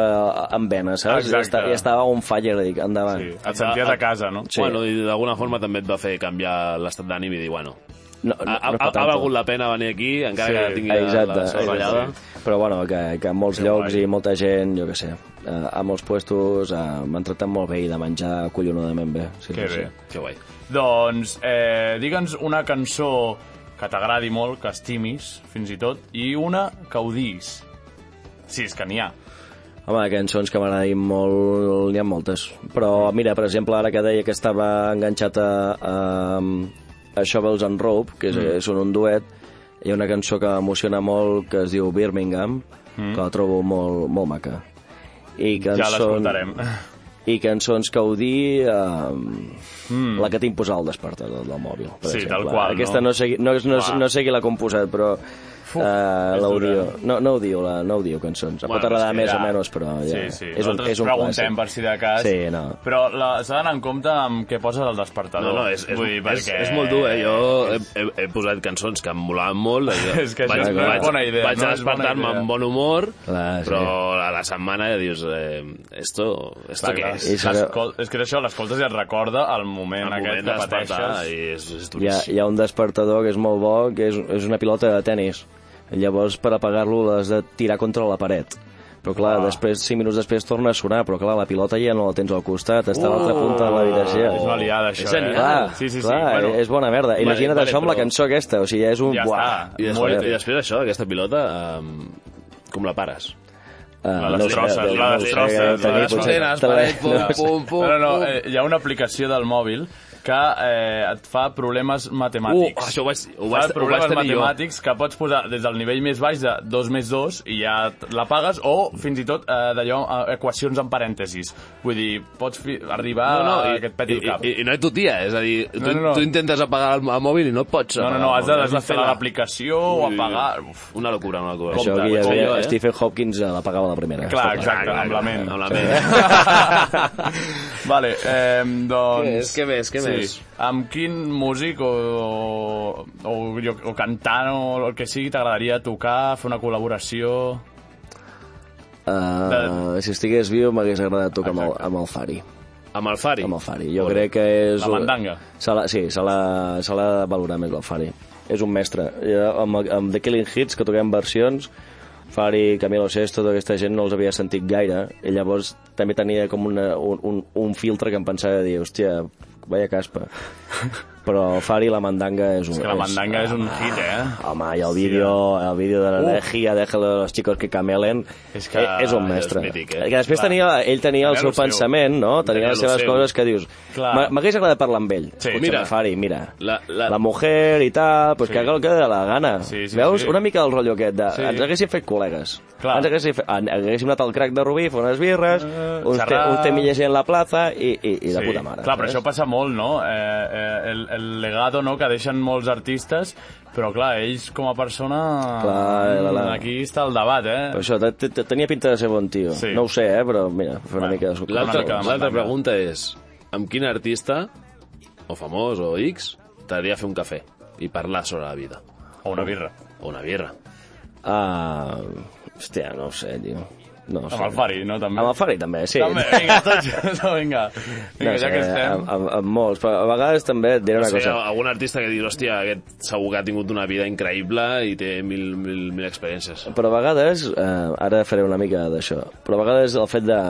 S6: amb venes, saps? I,
S3: Exacte.
S6: esta, I estava on fire, dic, endavant.
S3: Sí. Et senties a casa, no?
S4: Sí. Bueno, i d'alguna forma també et va fer canviar l'estat d'ànim i dir, bueno,
S6: No,
S4: ha, ha,
S6: és
S4: ha,
S6: per tant,
S4: valgut la pena venir aquí, encara
S3: Sí.
S4: que tingui la,
S6: Exacte,
S4: la
S6: exacte.
S4: serrallada.
S6: Però bueno, que, que a molts que llocs
S3: guai.
S6: i molta gent, jo que sé, eh, a molts puestos eh, m'han tractat molt bé i de menjar collonudament bé. Sí,
S3: Que
S6: sí,
S3: bé.
S4: Que guai.
S3: Doncs eh, digue'ns una cançó que t'agradi molt, que estimis, fins i tot, i una que odis. Sí, és que n'hi ha.
S6: Sí. Home, de cançons que m'agradin molt, n'hi ha moltes. Però mira, per exemple, ara que deia que estava enganxat a, a, a Shovels and Rope, que és, mm. és un, un duet, hi ha una cançó que m'emociona molt que es diu Birmingham, mm. que la trobo molt, molt maca. I
S3: Ja
S6: cançons-
S3: l'escoltarem.
S6: i cançons que ho dir eh, mm. la que tinc posada al despertador del mòbil
S3: Hmm.
S6: per
S3: Sí,
S6: exemple.
S3: tal qual,
S6: aquesta no,
S3: no?
S6: sé, qui- no, no,
S3: Uah.
S6: no sé qui l'ha composat però uh, l'audio no, no ho diu, la, no ho diu cançons bueno, pot
S4: Bueno,
S6: agradar
S4: és que
S6: més
S3: ja-
S6: o menys però ja,
S3: Sí, sí.
S6: és, un,
S3: Nosaltres
S6: és un
S3: preguntem per si de cas.
S6: sí, no.
S3: Però la- s'ha d'anar en compte amb què poses al despertador.
S4: No, no, és, és,
S3: Vull dir,
S4: és, és molt dur, eh? Jo he, he, he posat cançons que em molaven molt. eh?
S3: És que això
S4: vaig,
S6: no és
S4: vaig,
S3: bona idea,
S4: Vaig
S3: no
S4: a
S3: és bona
S4: despertar-me
S3: idea.
S4: amb bon humor,
S6: Clar, Ah, sí.
S4: però a la setmana ja dius, eh, esto, esto
S3: Clar,
S4: què
S3: clar.
S4: és?
S6: I serà-
S3: L'escol- És que és això, l'escoltes i et recorda el moment,
S4: El
S3: aquest
S4: moment de
S3: que
S4: despertar
S3: pateixes.
S4: i és, és
S6: hi ha,
S4: duríssim.
S6: hi ha un despertador que és molt bo que és, és una pilota de tennis llavors per apagar-lo l'has de tirar contra la paret però clar, ah. després, 5 minuts després torna a sonar, però clar, la pilota ja no la tens al costat, està a l'altra punta de l'habitació.
S3: És una liada, això,
S4: És
S3: eh?
S4: genial.
S6: Clar,
S3: sí, sí, sí.
S6: clar,
S3: bueno,
S6: és bona merda. Imagina't
S4: vale,
S6: això amb la
S4: però-
S6: cançó aquesta, o sigui, és un...
S3: Ja
S6: Buah.
S3: està.
S4: I després,
S3: Molt bé.
S4: I després això, aquesta pilota, eh, com la pares?
S6: Ah,
S3: La
S6: no ho sé,
S3: destrosses,
S6: doncs,
S3: la
S6: no ho sé,
S3: destrosses,
S6: deu
S3: la
S6: tenir
S3: destrosses.
S6: potser-
S8: Antenes,
S6: te la-
S8: paret,
S6: no.
S8: pum, pum, pum.
S3: No, no,
S8: pum.
S3: eh, hi ha una aplicació del mòbil que eh, et fa problemes
S4: Uh,
S3: matemàtics.
S4: això ho vaig, ho
S3: Fa
S4: vaig, ho vaig
S3: problemes
S4: tenir jo.
S3: matemàtics que pots posar des del nivell més baix de 2 més 2 i ja t- la pagues o fins i tot eh, d'allò eh, equacions en parèntesis. Vull dir, pots fi- arribar
S4: No, no,
S3: a
S4: i,
S3: que et peti
S4: i,
S3: el cap.
S4: i, i no és tu tia, és a dir, tu,
S3: No, no, no.
S4: tu instes apagar el, el mòbil i no pots eh,
S3: no, no,
S4: apagar
S3: no,
S4: el
S3: has de
S4: mòbil,
S3: desinstal·lar
S4: fer-la.
S3: l'aplicació o
S4: Ui,
S3: apagar... Uf.
S4: Una locura, una locura.
S6: Això aquí
S3: Compte,
S6: ja
S3: ho
S4: Ho
S3: sé
S6: ve,
S4: feia jo, eh?
S6: Stephen Hopkins eh, l'apagava la primera.
S3: Clar,
S6: Està
S3: exacte,
S4: clar,
S3: amb la ment.
S4: amb la ment.
S3: vale, eh, doncs...
S8: Què més, què més, què
S3: sí.
S8: més?
S3: Amb quin músic o, o, o, jo- o cantant o el que sigui t'agradaria tocar, fer una col·laboració...
S6: Eh, si estigués viu m'hagués agradat tocar amb el, amb el Fari.
S4: Amb el Fari.
S6: Amb el Fari. Jo crec que és...
S3: La mandanga.
S6: Se la, sí, se l'ha se l'ha de valorar més el Fari. És un mestre. Jo, amb, amb The Killing Hits, que toquem versions, Fari, Camilo Sesto, tota aquesta gent no els havia sentit gaire, i llavors també tenia com una, un, un, un filtre que em pensava de dir, hòstia, vaya caspa. Però Fari, la mandanga és un...
S3: És que la mandanga és un hit, eh?
S6: Home, i el vídeo, el vídeo de l'Energia, déjalo a los chicos que camelen,
S3: És que
S6: eh, és un
S3: és
S6: mestre.
S4: mític, eh?
S6: Que després tenia, ell tenia el
S3: Tenia
S6: seu
S3: lo seu.
S6: pensament, no? Tenia
S4: Tenia
S6: les
S4: lo
S6: seves
S4: seu.
S6: coses que dius...
S3: Clar.
S6: "M'a- M'hagués agradat parlar amb ell.
S3: Sí, Eh.
S6: Potser
S4: mira.
S6: amb Fari, mira.
S4: La- la-
S6: la mujer i tal, pues que haga el que de la gana.
S3: Sí, sí,
S6: Veus?
S3: sí.
S6: Una mica el rotllo aquest de... Ens haguéssim fet col·legues.
S3: Clar.
S6: Ens haguéssim, fet, en- haguéssim anat al crac de Rubí, fer unes birres, uns, te,
S3: Eh, xerrar.
S6: uns temilles en la plaza i, i, i de puta mare.
S3: Clar, però
S6: saps?
S3: això passa molt, no? Eh, eh, el, el legado no, que deixen molts artistes, però clar, ells com a persona...
S6: Clar, eh, la- la-
S3: Aquí està el debat, eh?
S6: Però això, te- te- tenia pinta de ser bon tio.
S3: Sí.
S6: No ho sé, eh, però mira, fer una
S3: Bueno,
S6: mica de...
S4: L'altra
S3: mica de mandanga.
S4: l'altra pregunta és, amb quin artista, o famós o X, t'agradaria fer un cafè i parlar sobre la vida?
S3: O una birra.
S4: O una birra.
S6: Ah, hòstia, no ho sé, tio. No ho sé.
S3: Amb el Fari, no? També.
S6: Amb el Fari, també, sí.
S3: També, vinga, tots, no, vinga. Vinga,
S6: no
S3: ja que estem...
S6: Amb, amb, amb molts, però a vegades també et diré
S4: No
S6: una
S4: sé,
S6: cosa.
S4: algun artista que dius, hòstia, aquest segur que ha tingut una vida increïble i té mil, mil, mil experiències.
S6: Però a vegades, eh, ara faré una mica d'això, però a vegades el fet de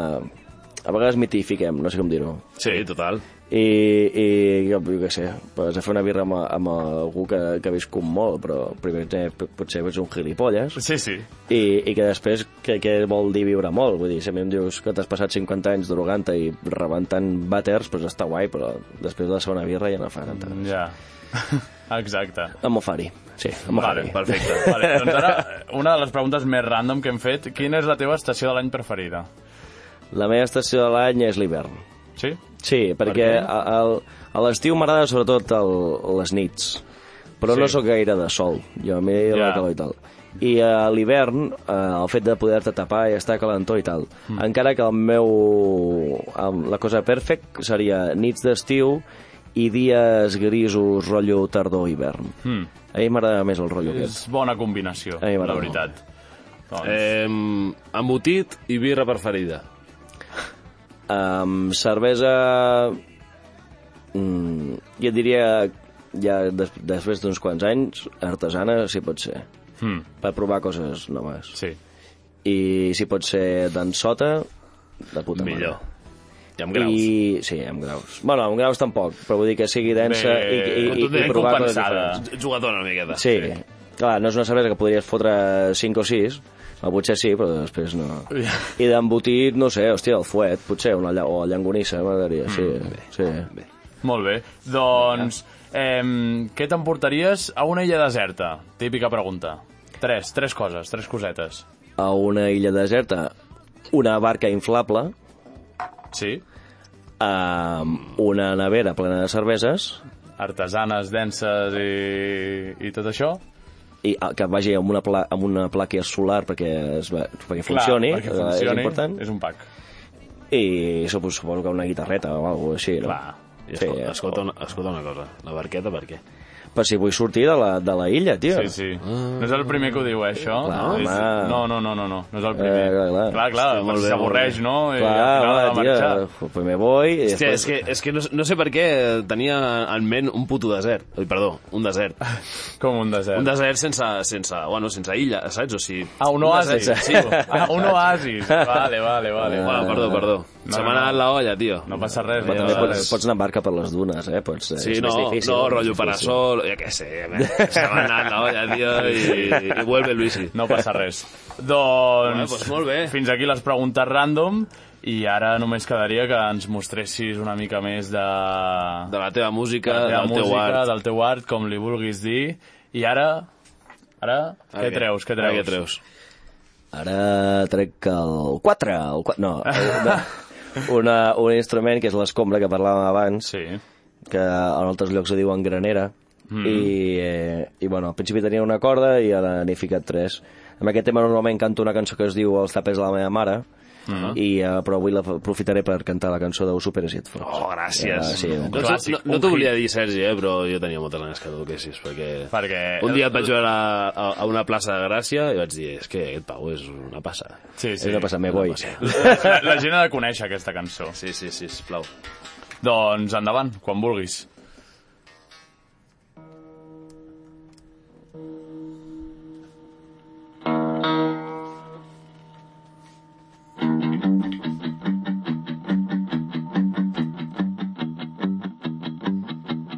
S6: a vegades mitifiquem, no sé com dir-ho.
S4: Sí, total.
S6: I, i jo, jo què sé, vas a fer una birra amb, amb algú que, que ha viscut molt, però primer eh, potser ets un gilipolles,
S3: Sí, sí.
S6: i, i que després què, què vol dir viure molt? Vull dir, si a mi em dius que t'has passat 50 anys drogant i rebentant vàters, doncs està guai, però després de la segona birra ja no fa tanta gràcia.
S3: Ja. Exacte.
S6: Em ofari, sí, em
S3: Vale,
S6: ofari.
S3: perfecte. Vale, doncs ara, una de les preguntes més random que hem fet, quina és la teva estació de l'any preferida?
S6: La meva estació de l'any és l'hivern.
S3: Sí?
S6: Sí, perquè
S3: què?
S6: a, a, a l'estiu m'agrada sobretot el, les nits, però
S3: Sí.
S6: sí. no sóc gaire de sol, jo a mi yeah.
S3: Ja.
S6: la calor i tal. I a l'hivern, eh, el fet de poder-te tapar i estar a calentó i tal. Mm. Encara que el meu... em- La cosa perfect seria nits d'estiu i dies grisos, rotllo tardor-hivern. Mm. A mi m'agrada més el rotllo aquest.
S3: És bona combinació,
S6: A mi
S3: la
S6: m'agrada
S3: veritat. Doncs,
S4: Eh, embotit i birra preferida.
S6: Um, cervesa... Mm, jo et diria ja des, després d'uns quants anys, artesana, si pot ser.
S3: Mm.
S6: Per provar coses noves.
S3: Sí.
S6: I si pot ser d'ensota, de puta
S4: Millor.
S6: mare.
S4: I amb graus. I...
S6: I, sí, amb graus. Bueno, amb graus tampoc, però vull dir que sigui densa i, i, i, i
S3: contundent,
S6: provar coses
S3: compensada.
S6: diferents.
S4: Jugadora una miqueta.
S6: Sí, sí, clar, no és una cervesa que podries fotre 5 o 6, o potser sí, però després no. I d'embotit, no sé, hòstia, el fuet, potser, una, lla- o llangonissa, m'agradaria, sí. sí.
S3: Molt Mm, bé. Doncs, eh, què t'emportaries a una illa deserta? Típica pregunta. Tres, tres coses, tres cosetes.
S6: A una illa deserta, una barca inflable,
S3: Sí?
S6: amb una nevera plena de cerveses,
S3: Artesanes, denses i, i tot això?
S6: i ah, que vagi amb una, pla, amb una placa solar perquè, es va, perquè funcioni,
S3: Clar, perquè
S6: eh,
S3: funcioni,
S6: és important,
S3: És un pack.
S6: i supo- suposo que una guitarreta o alguna així, no?
S4: Clar. I escolta,
S6: Sí,
S4: sí, escolta, una, escolta una cosa, la barqueta per què?
S6: Per si vull sortir de la, de la illa, tio.
S3: Sí, sí. No és el primer que ho diu, eh, això?
S6: Clar,
S3: És-
S6: home.
S3: no, no, no, no, no, no és el primer.
S6: Eh, clar, clar.
S3: clar, clar
S4: Hòstia, molt
S3: perquè
S4: bé,
S3: s'avorreix, no? I al final
S6: Clar,
S3: ha de
S6: home,
S3: marxar.
S6: tio, primer voy i
S4: Hòstia,
S6: després...
S4: és que, és que no, no sé per què tenia en ment un puto desert. Ui, perdó, un desert.
S3: Com un desert.
S4: Un desert sense, sense, bueno, sense illa, saps? O sigui,
S3: Ah, un oasis.
S4: desert,
S3: Sí. Ah, un oasis. Vale, vale, vale.
S4: Bueno, perdó, perdó.
S3: No,
S4: Se
S3: no,
S4: m'ha anat
S3: no.
S4: la olla, tio.
S3: No passa res.
S4: Però
S3: no eh,
S6: També
S3: passa
S6: pots,
S3: res.
S6: pots anar en barca per les dunes, eh? Pots, eh,
S4: Sí,
S6: és
S4: no,
S6: més difícil,
S4: no, rotllo
S6: és més difícil.
S4: parasol, jo què sé, se m'ha anat la olla, tio, i, i vuelve Luisi.
S3: No passa res. Doncs...
S4: Bueno, doncs molt bé.
S3: Fins aquí les preguntes random i ara només quedaria que ens mostressis una mica més de...
S4: De la teva música,
S3: de la
S4: del teu
S3: música,
S4: art.
S3: del teu art, com li vulguis dir. I ara... Ara,
S4: Ara
S3: què treus? Què
S4: Ara
S3: treus?
S4: Què treus?
S6: Ara trec el 4, el 4 no, el- no. Una, un instrument que és l'escombra que parlàvem abans,
S3: Sí.
S6: que en altres llocs ho diuen granera, mm. i, eh, i bueno, al principi tenia una corda i ara n'he ficat tres. Amb aquest tema normalment canto una cançó que es diu Els tapers de la meva mare,
S3: Ah.
S6: Mm -hmm. i, eh, però avui l'aprofitaré per cantar la cançó d'Ho superes i et fas.
S4: Oh, gràcies.
S6: Ja, sí,
S4: no
S6: un
S4: t'ho-
S3: clàssic,
S4: no,
S3: un
S4: no t'ho volia dir, Sergi, eh, però jo tenia moltes ganes que toquessis, perquè...
S3: Perquè- eh,
S4: Un dia et vaig veure a, a, a una plaça de Gràcia i vaig dir, és que aquest Pau és una passa.
S3: Sí, sí.
S6: Sí. Una passa, me voy.
S3: La, la gent ha de conèixer aquesta cançó.
S4: Sí, sí, sí, sisplau.
S3: Doncs endavant, quan vulguis.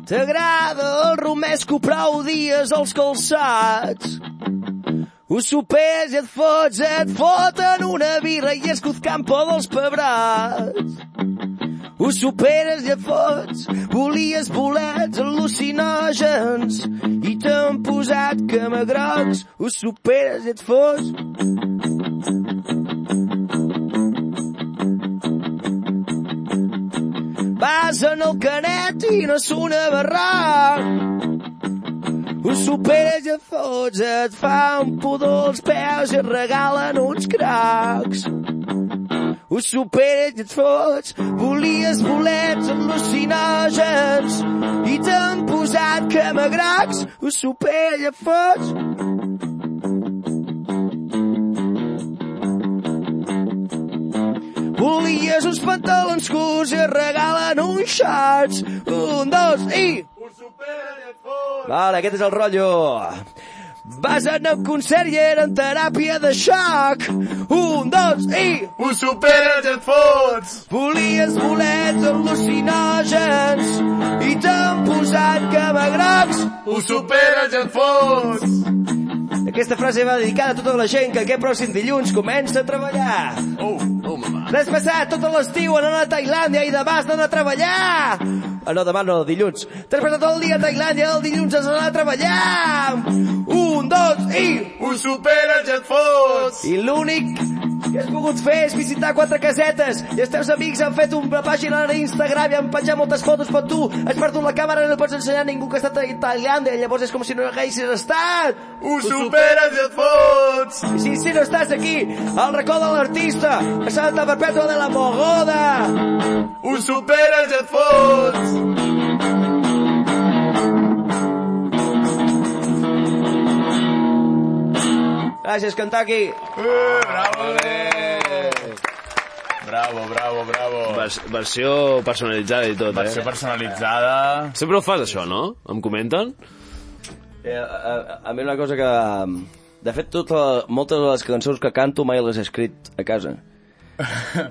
S6: T'agrada el romesco prou dies als calçats. Ho sopes i et fots, et foten una birra i és campo dels pebrats. Ho superes i et fots, volies bolets al·lucinògens i t'han posat camagrocs. Ho superes i et fots, Vas en el canet i no sona barrac. Ho superes i et fots, et fa un pudor als peus i et regalen uns cracs. Ho superes i et fots, volies bolets al·lucinògens i t'han posat camagracs. Ho superes i et fots. Volies uns pantalons curts i et regalen uns xats. Un, dos i... Vale, aquest és el rotllo. Vas anar a un concert i era en teràpia de xoc. Un, dos i...
S7: Ho superes, et fots!
S6: Volies bolets al·lucinògens i t'han posat camagrocs.
S7: Ho superes, et fots!
S6: Aquesta frase va dedicada a tota la gent que aquest pròxim dilluns comença a treballar.
S4: Oh, oh, mama.
S6: L'has passat tot l'estiu anant a Tailàndia i demà has d'anar a treballar! Ah, no, demà no, dilluns. T'has passat tot el dia a Tailàndia, el dilluns has d'anar a treballar! Un, dos i...
S7: Ho superes, et fots!
S6: I l'únic que has pogut fer és visitar quatre casetes i els teus amics han fet una pàgina a Instagram i han penjat moltes fotos, però tu has perdut la càmera i no pots ensenyar a ningú que ha estat a Tailàndia, llavors és com si no hi haguessis estat.
S7: Ho superes, et fots!
S6: I si, si no estàs aquí, al racó de l'artista, a Santa Perpètua de la Mogoda.
S7: Ho superes, et fots!
S6: Gràcies, Kentucky.
S3: Bravo, bravo, bravo.
S4: Vers, versió personalitzada i tot,
S3: Versió
S4: eh?
S3: personalitzada.
S4: Sempre ho fas, això, no? Em comenten?
S6: Eh, a, a, a mi una cosa que... De fet, tota, moltes de les cançons que canto mai les he escrit a casa.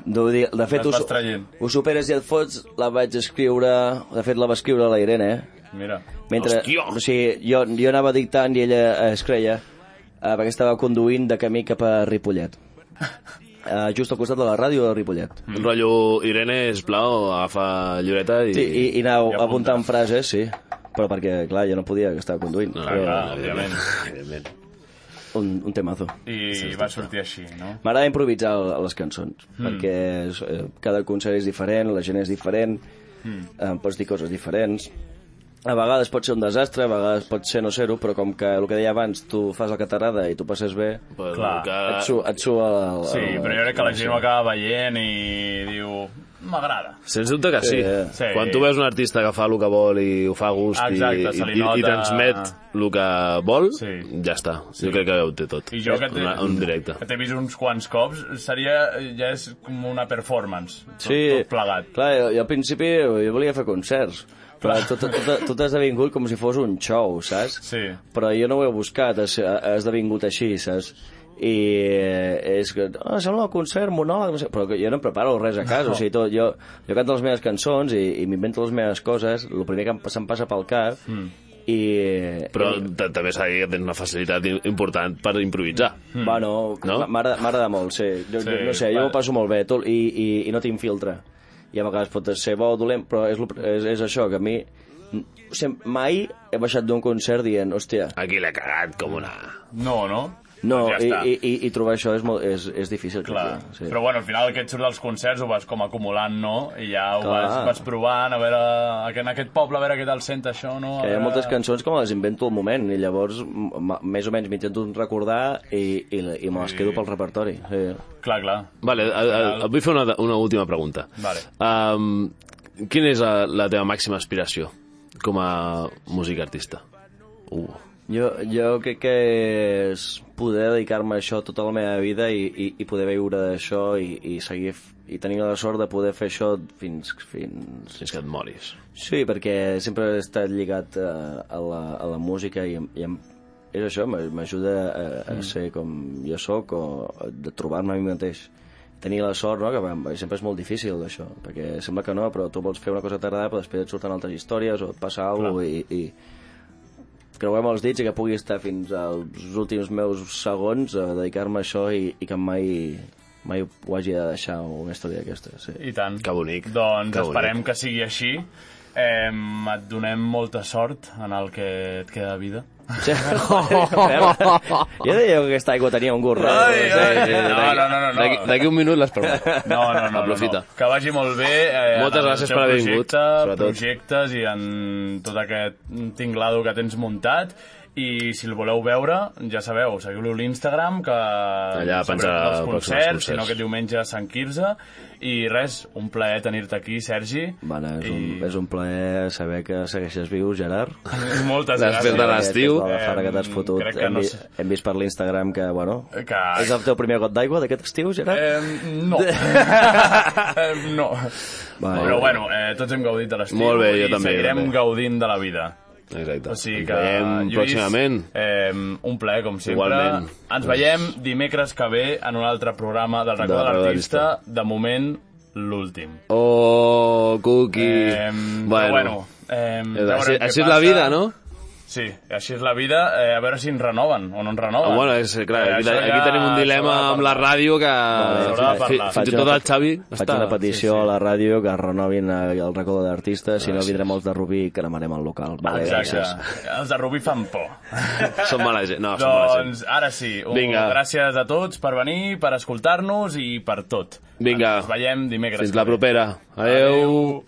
S6: De, dir, de fet,
S3: Les vas
S6: us,
S3: traient.
S6: ho superes i et fots, la vaig escriure... De fet, la va escriure la Irene, eh?
S3: Mira.
S6: Mentre,
S4: Hòstia!
S6: o sigui, jo, jo anava dictant i ella es creia, eh, perquè estava conduint de camí cap a Ripollet. Eh, just al costat de la ràdio de Ripollet.
S4: Mm. Rotllo Irene, sisplau, agafa lliureta i...
S6: Sí, i, i anau
S3: I apunta.
S6: apuntant frases, sí. Però perquè, clar, jo no podia, que estava conduint.
S4: No,
S6: però
S3: clar, òbviament.
S4: evidentment.
S6: un, un temazo.
S3: I va sortir així, no?
S6: M'agrada improvisar a les cançons,
S3: Hmm.
S6: mm. perquè és, eh, cada concert és diferent, la gent és diferent,
S3: Hmm.
S6: mm. em pots dir coses diferents. A vegades pot ser un desastre, a vegades pot ser no ser-ho, però com que el que deia abans, tu fas el que t'agrada i tu passes bé,
S4: Però
S3: Clar.
S4: que...
S6: et su, et su el,
S3: Ah. Sí,
S6: el,
S3: però jo crec que la gent ho acaba veient i diu... M'agrada.
S4: Sens dubte que sí.
S6: eh.
S3: Sí.
S4: Quan tu veus un artista que fa el que vol i ho fa a gust
S3: Exacte,
S4: i,
S3: se li
S4: i, i
S3: nota-
S4: transmet el que vol,
S3: Sí.
S4: ja està. Jo crec que ho té tot.
S3: I jo que t'he
S4: Una- Un directe.
S3: que t'he vist uns quants cops, seria, ja és com una performance, tot,
S6: Sí,
S3: tot plegat.
S6: clar, jo, jo al principi jo volia fer concerts, però tu, tu, tu, tu t'has devingut com si fos un show, saps?
S3: Sí.
S6: Però jo no ho he buscat, ha, ha esdevingut així, saps? I eh, és que, oh, sembla un concert monòleg, no sé, però que jo no em preparo res a casa, no. o sigui, tot, jo, jo canto les meves cançons i, i m'invento les meves coses, el primer que em, se'm passa pel cap, mm. i...
S4: Però ta- també s'ha de dir que tens una facilitat i- important per improvisar.
S6: Mm. Bueno,
S4: No?
S6: no? m'agrada molt, sí. Jo,
S3: Sí,
S6: sí, no sé,
S3: va.
S6: jo ho passo molt bé tot, i, i, i no tinc filtre. I a vegades pot ser bo o dolent, però és, lo- és, és això, que a mi sem- mai he baixat d'un concert dient, hòstia,
S4: Aquí l'he cagat com una...
S3: No, no?
S6: no,
S3: Doncs
S6: i,
S3: ja està.
S6: i, i, i trobar això és, molt, és, és difícil.
S3: Clar,
S6: Sí.
S3: però bueno, al final que et surt dels concerts ho vas com acumulant, no? I ja ho
S6: Clar.
S3: vas, vas provant, a veure, a- en aquest poble, a veure què tal sent això, no? A
S6: Que hi ha
S3: veure...
S6: moltes cançons que me les invento al moment i llavors m- més o menys m'intento recordar i, i, i me les quedo pel repertori. Sí.
S3: Clar, clar.
S4: Vale, a, a, et vull fer una, una última pregunta.
S3: Vale.
S4: Um, quina és la, la teva màxima aspiració com a músic artista? Uh,
S6: Jo, jo crec que és poder dedicar-me a això tota la meva vida i, i, i poder viure d'això i, i seguir f- i tenir la sort de poder fer això fins... fins...
S4: fins que et moris.
S6: Sí, perquè sempre he estat lligat a, a, la, a la música i, em- i em, és això, m'a- m'ajuda a, a ser com jo sóc o a- de trobar-me a mi mateix. Tenir la sort, no?, que va- sempre és molt difícil això, perquè sembla que no, però tu vols fer una cosa que t'agrada, però després et surten altres històries o et passa alguna cosa i, i, creuem els dits i que pugui estar fins als últims meus segons a dedicar-me a això i, i que mai, mai ho hagi de deixar o una història d'aquesta. Sí.
S3: I tant.
S4: Que bonic.
S3: Doncs
S4: Que bonic.
S3: esperem que sigui així. Eh, et donem molta sort en el que et queda de vida.
S6: jo deia que aquesta aigua tenia un gust raro.
S3: Ai, ai, ai. No,
S4: D'aquí-
S3: no, no, no, no.
S4: d'aquí- D'aquí un minut les pregunto.
S3: No, no, no, no,
S4: Aprofita.
S3: no. Que vagi molt bé. Eh,
S4: Moltes
S3: en el
S4: gràcies
S3: teu
S4: per haver vingut,
S3: projecte,
S4: sobretot.
S3: Projectes i en tot aquest tinglado que tens muntat. I si el voleu veure, ja sabeu, seguiu-lo a l'Instagram, que
S4: Allà
S3: sobre
S4: penjarà
S3: els
S4: pròxims
S3: concerts,
S4: concerts.
S3: sinó que diumenge a Sant Quirze. I res, un plaer tenir-te aquí, Sergi.
S6: Bueno, és, un,
S3: I-
S6: és un plaer saber que segueixes viu, Gerard.
S3: Moltes
S4: Després de
S3: gràcies.
S4: les- Estiu.
S6: Aquesta és la farra que t'has
S3: Em,
S6: fotut.
S3: Eh, crec que
S6: Hem,
S3: no
S6: vi-
S3: sé.
S6: hem vist per l'Instagram que, bueno...
S3: Que...
S6: És el teu primer got d'aigua d'aquest estiu, Gerard?
S3: Eh, no. eh, no.
S6: Vale.
S3: Però bueno, eh, tots hem gaudit de l'estiu
S4: Molt bé, jo
S3: i
S4: també, jo
S3: seguirem
S4: també.
S3: gaudint de la vida.
S4: Exacte.
S3: O sigui
S4: Ens
S3: que,
S4: veiem
S3: Lluís,
S4: pròximament.
S3: Eh, un plaer, com sempre.
S4: Igualment.
S3: Ens veiem dimecres que ve en un altre programa del Record
S4: Del
S3: de
S4: Racó de
S3: l'Artista. De moment, l'últim.
S4: Oh, cookie.
S3: Eh, però bueno eh, ja
S4: així,
S3: veurem què
S4: així és la
S3: passa.
S4: vida, no?
S3: Sí, així és la vida. Eh, a veure si ens renoven o no ens renoven. Eh,
S4: Ah, bueno, és, clar, aquí,
S3: això
S4: aquí tenim un dilema
S3: s'haurà de
S4: amb la
S3: parlar.
S4: ràdio que
S3: s'haurà de
S4: fi-
S3: parlar.
S4: fins i
S6: Faig
S4: tot
S6: una
S4: el Xavi
S6: Faig
S4: està...
S6: una petició
S3: sí, sí.
S6: a la ràdio que renovin eh, el racó d'artista, si no vindrem els de Rubí i cremarem el local. Vale,
S3: Exacte.
S6: gràcies.
S3: Els de Rubí fan por.
S4: Són mala gent. No, són mala gent.
S3: doncs ara sí. Un,
S4: Vinga.
S3: Gràcies a tots per venir, per escoltar-nos i per tot.
S4: Vinga.
S3: Ens veiem dimecres.
S4: Fins la propera. Adeu.
S3: Adéu.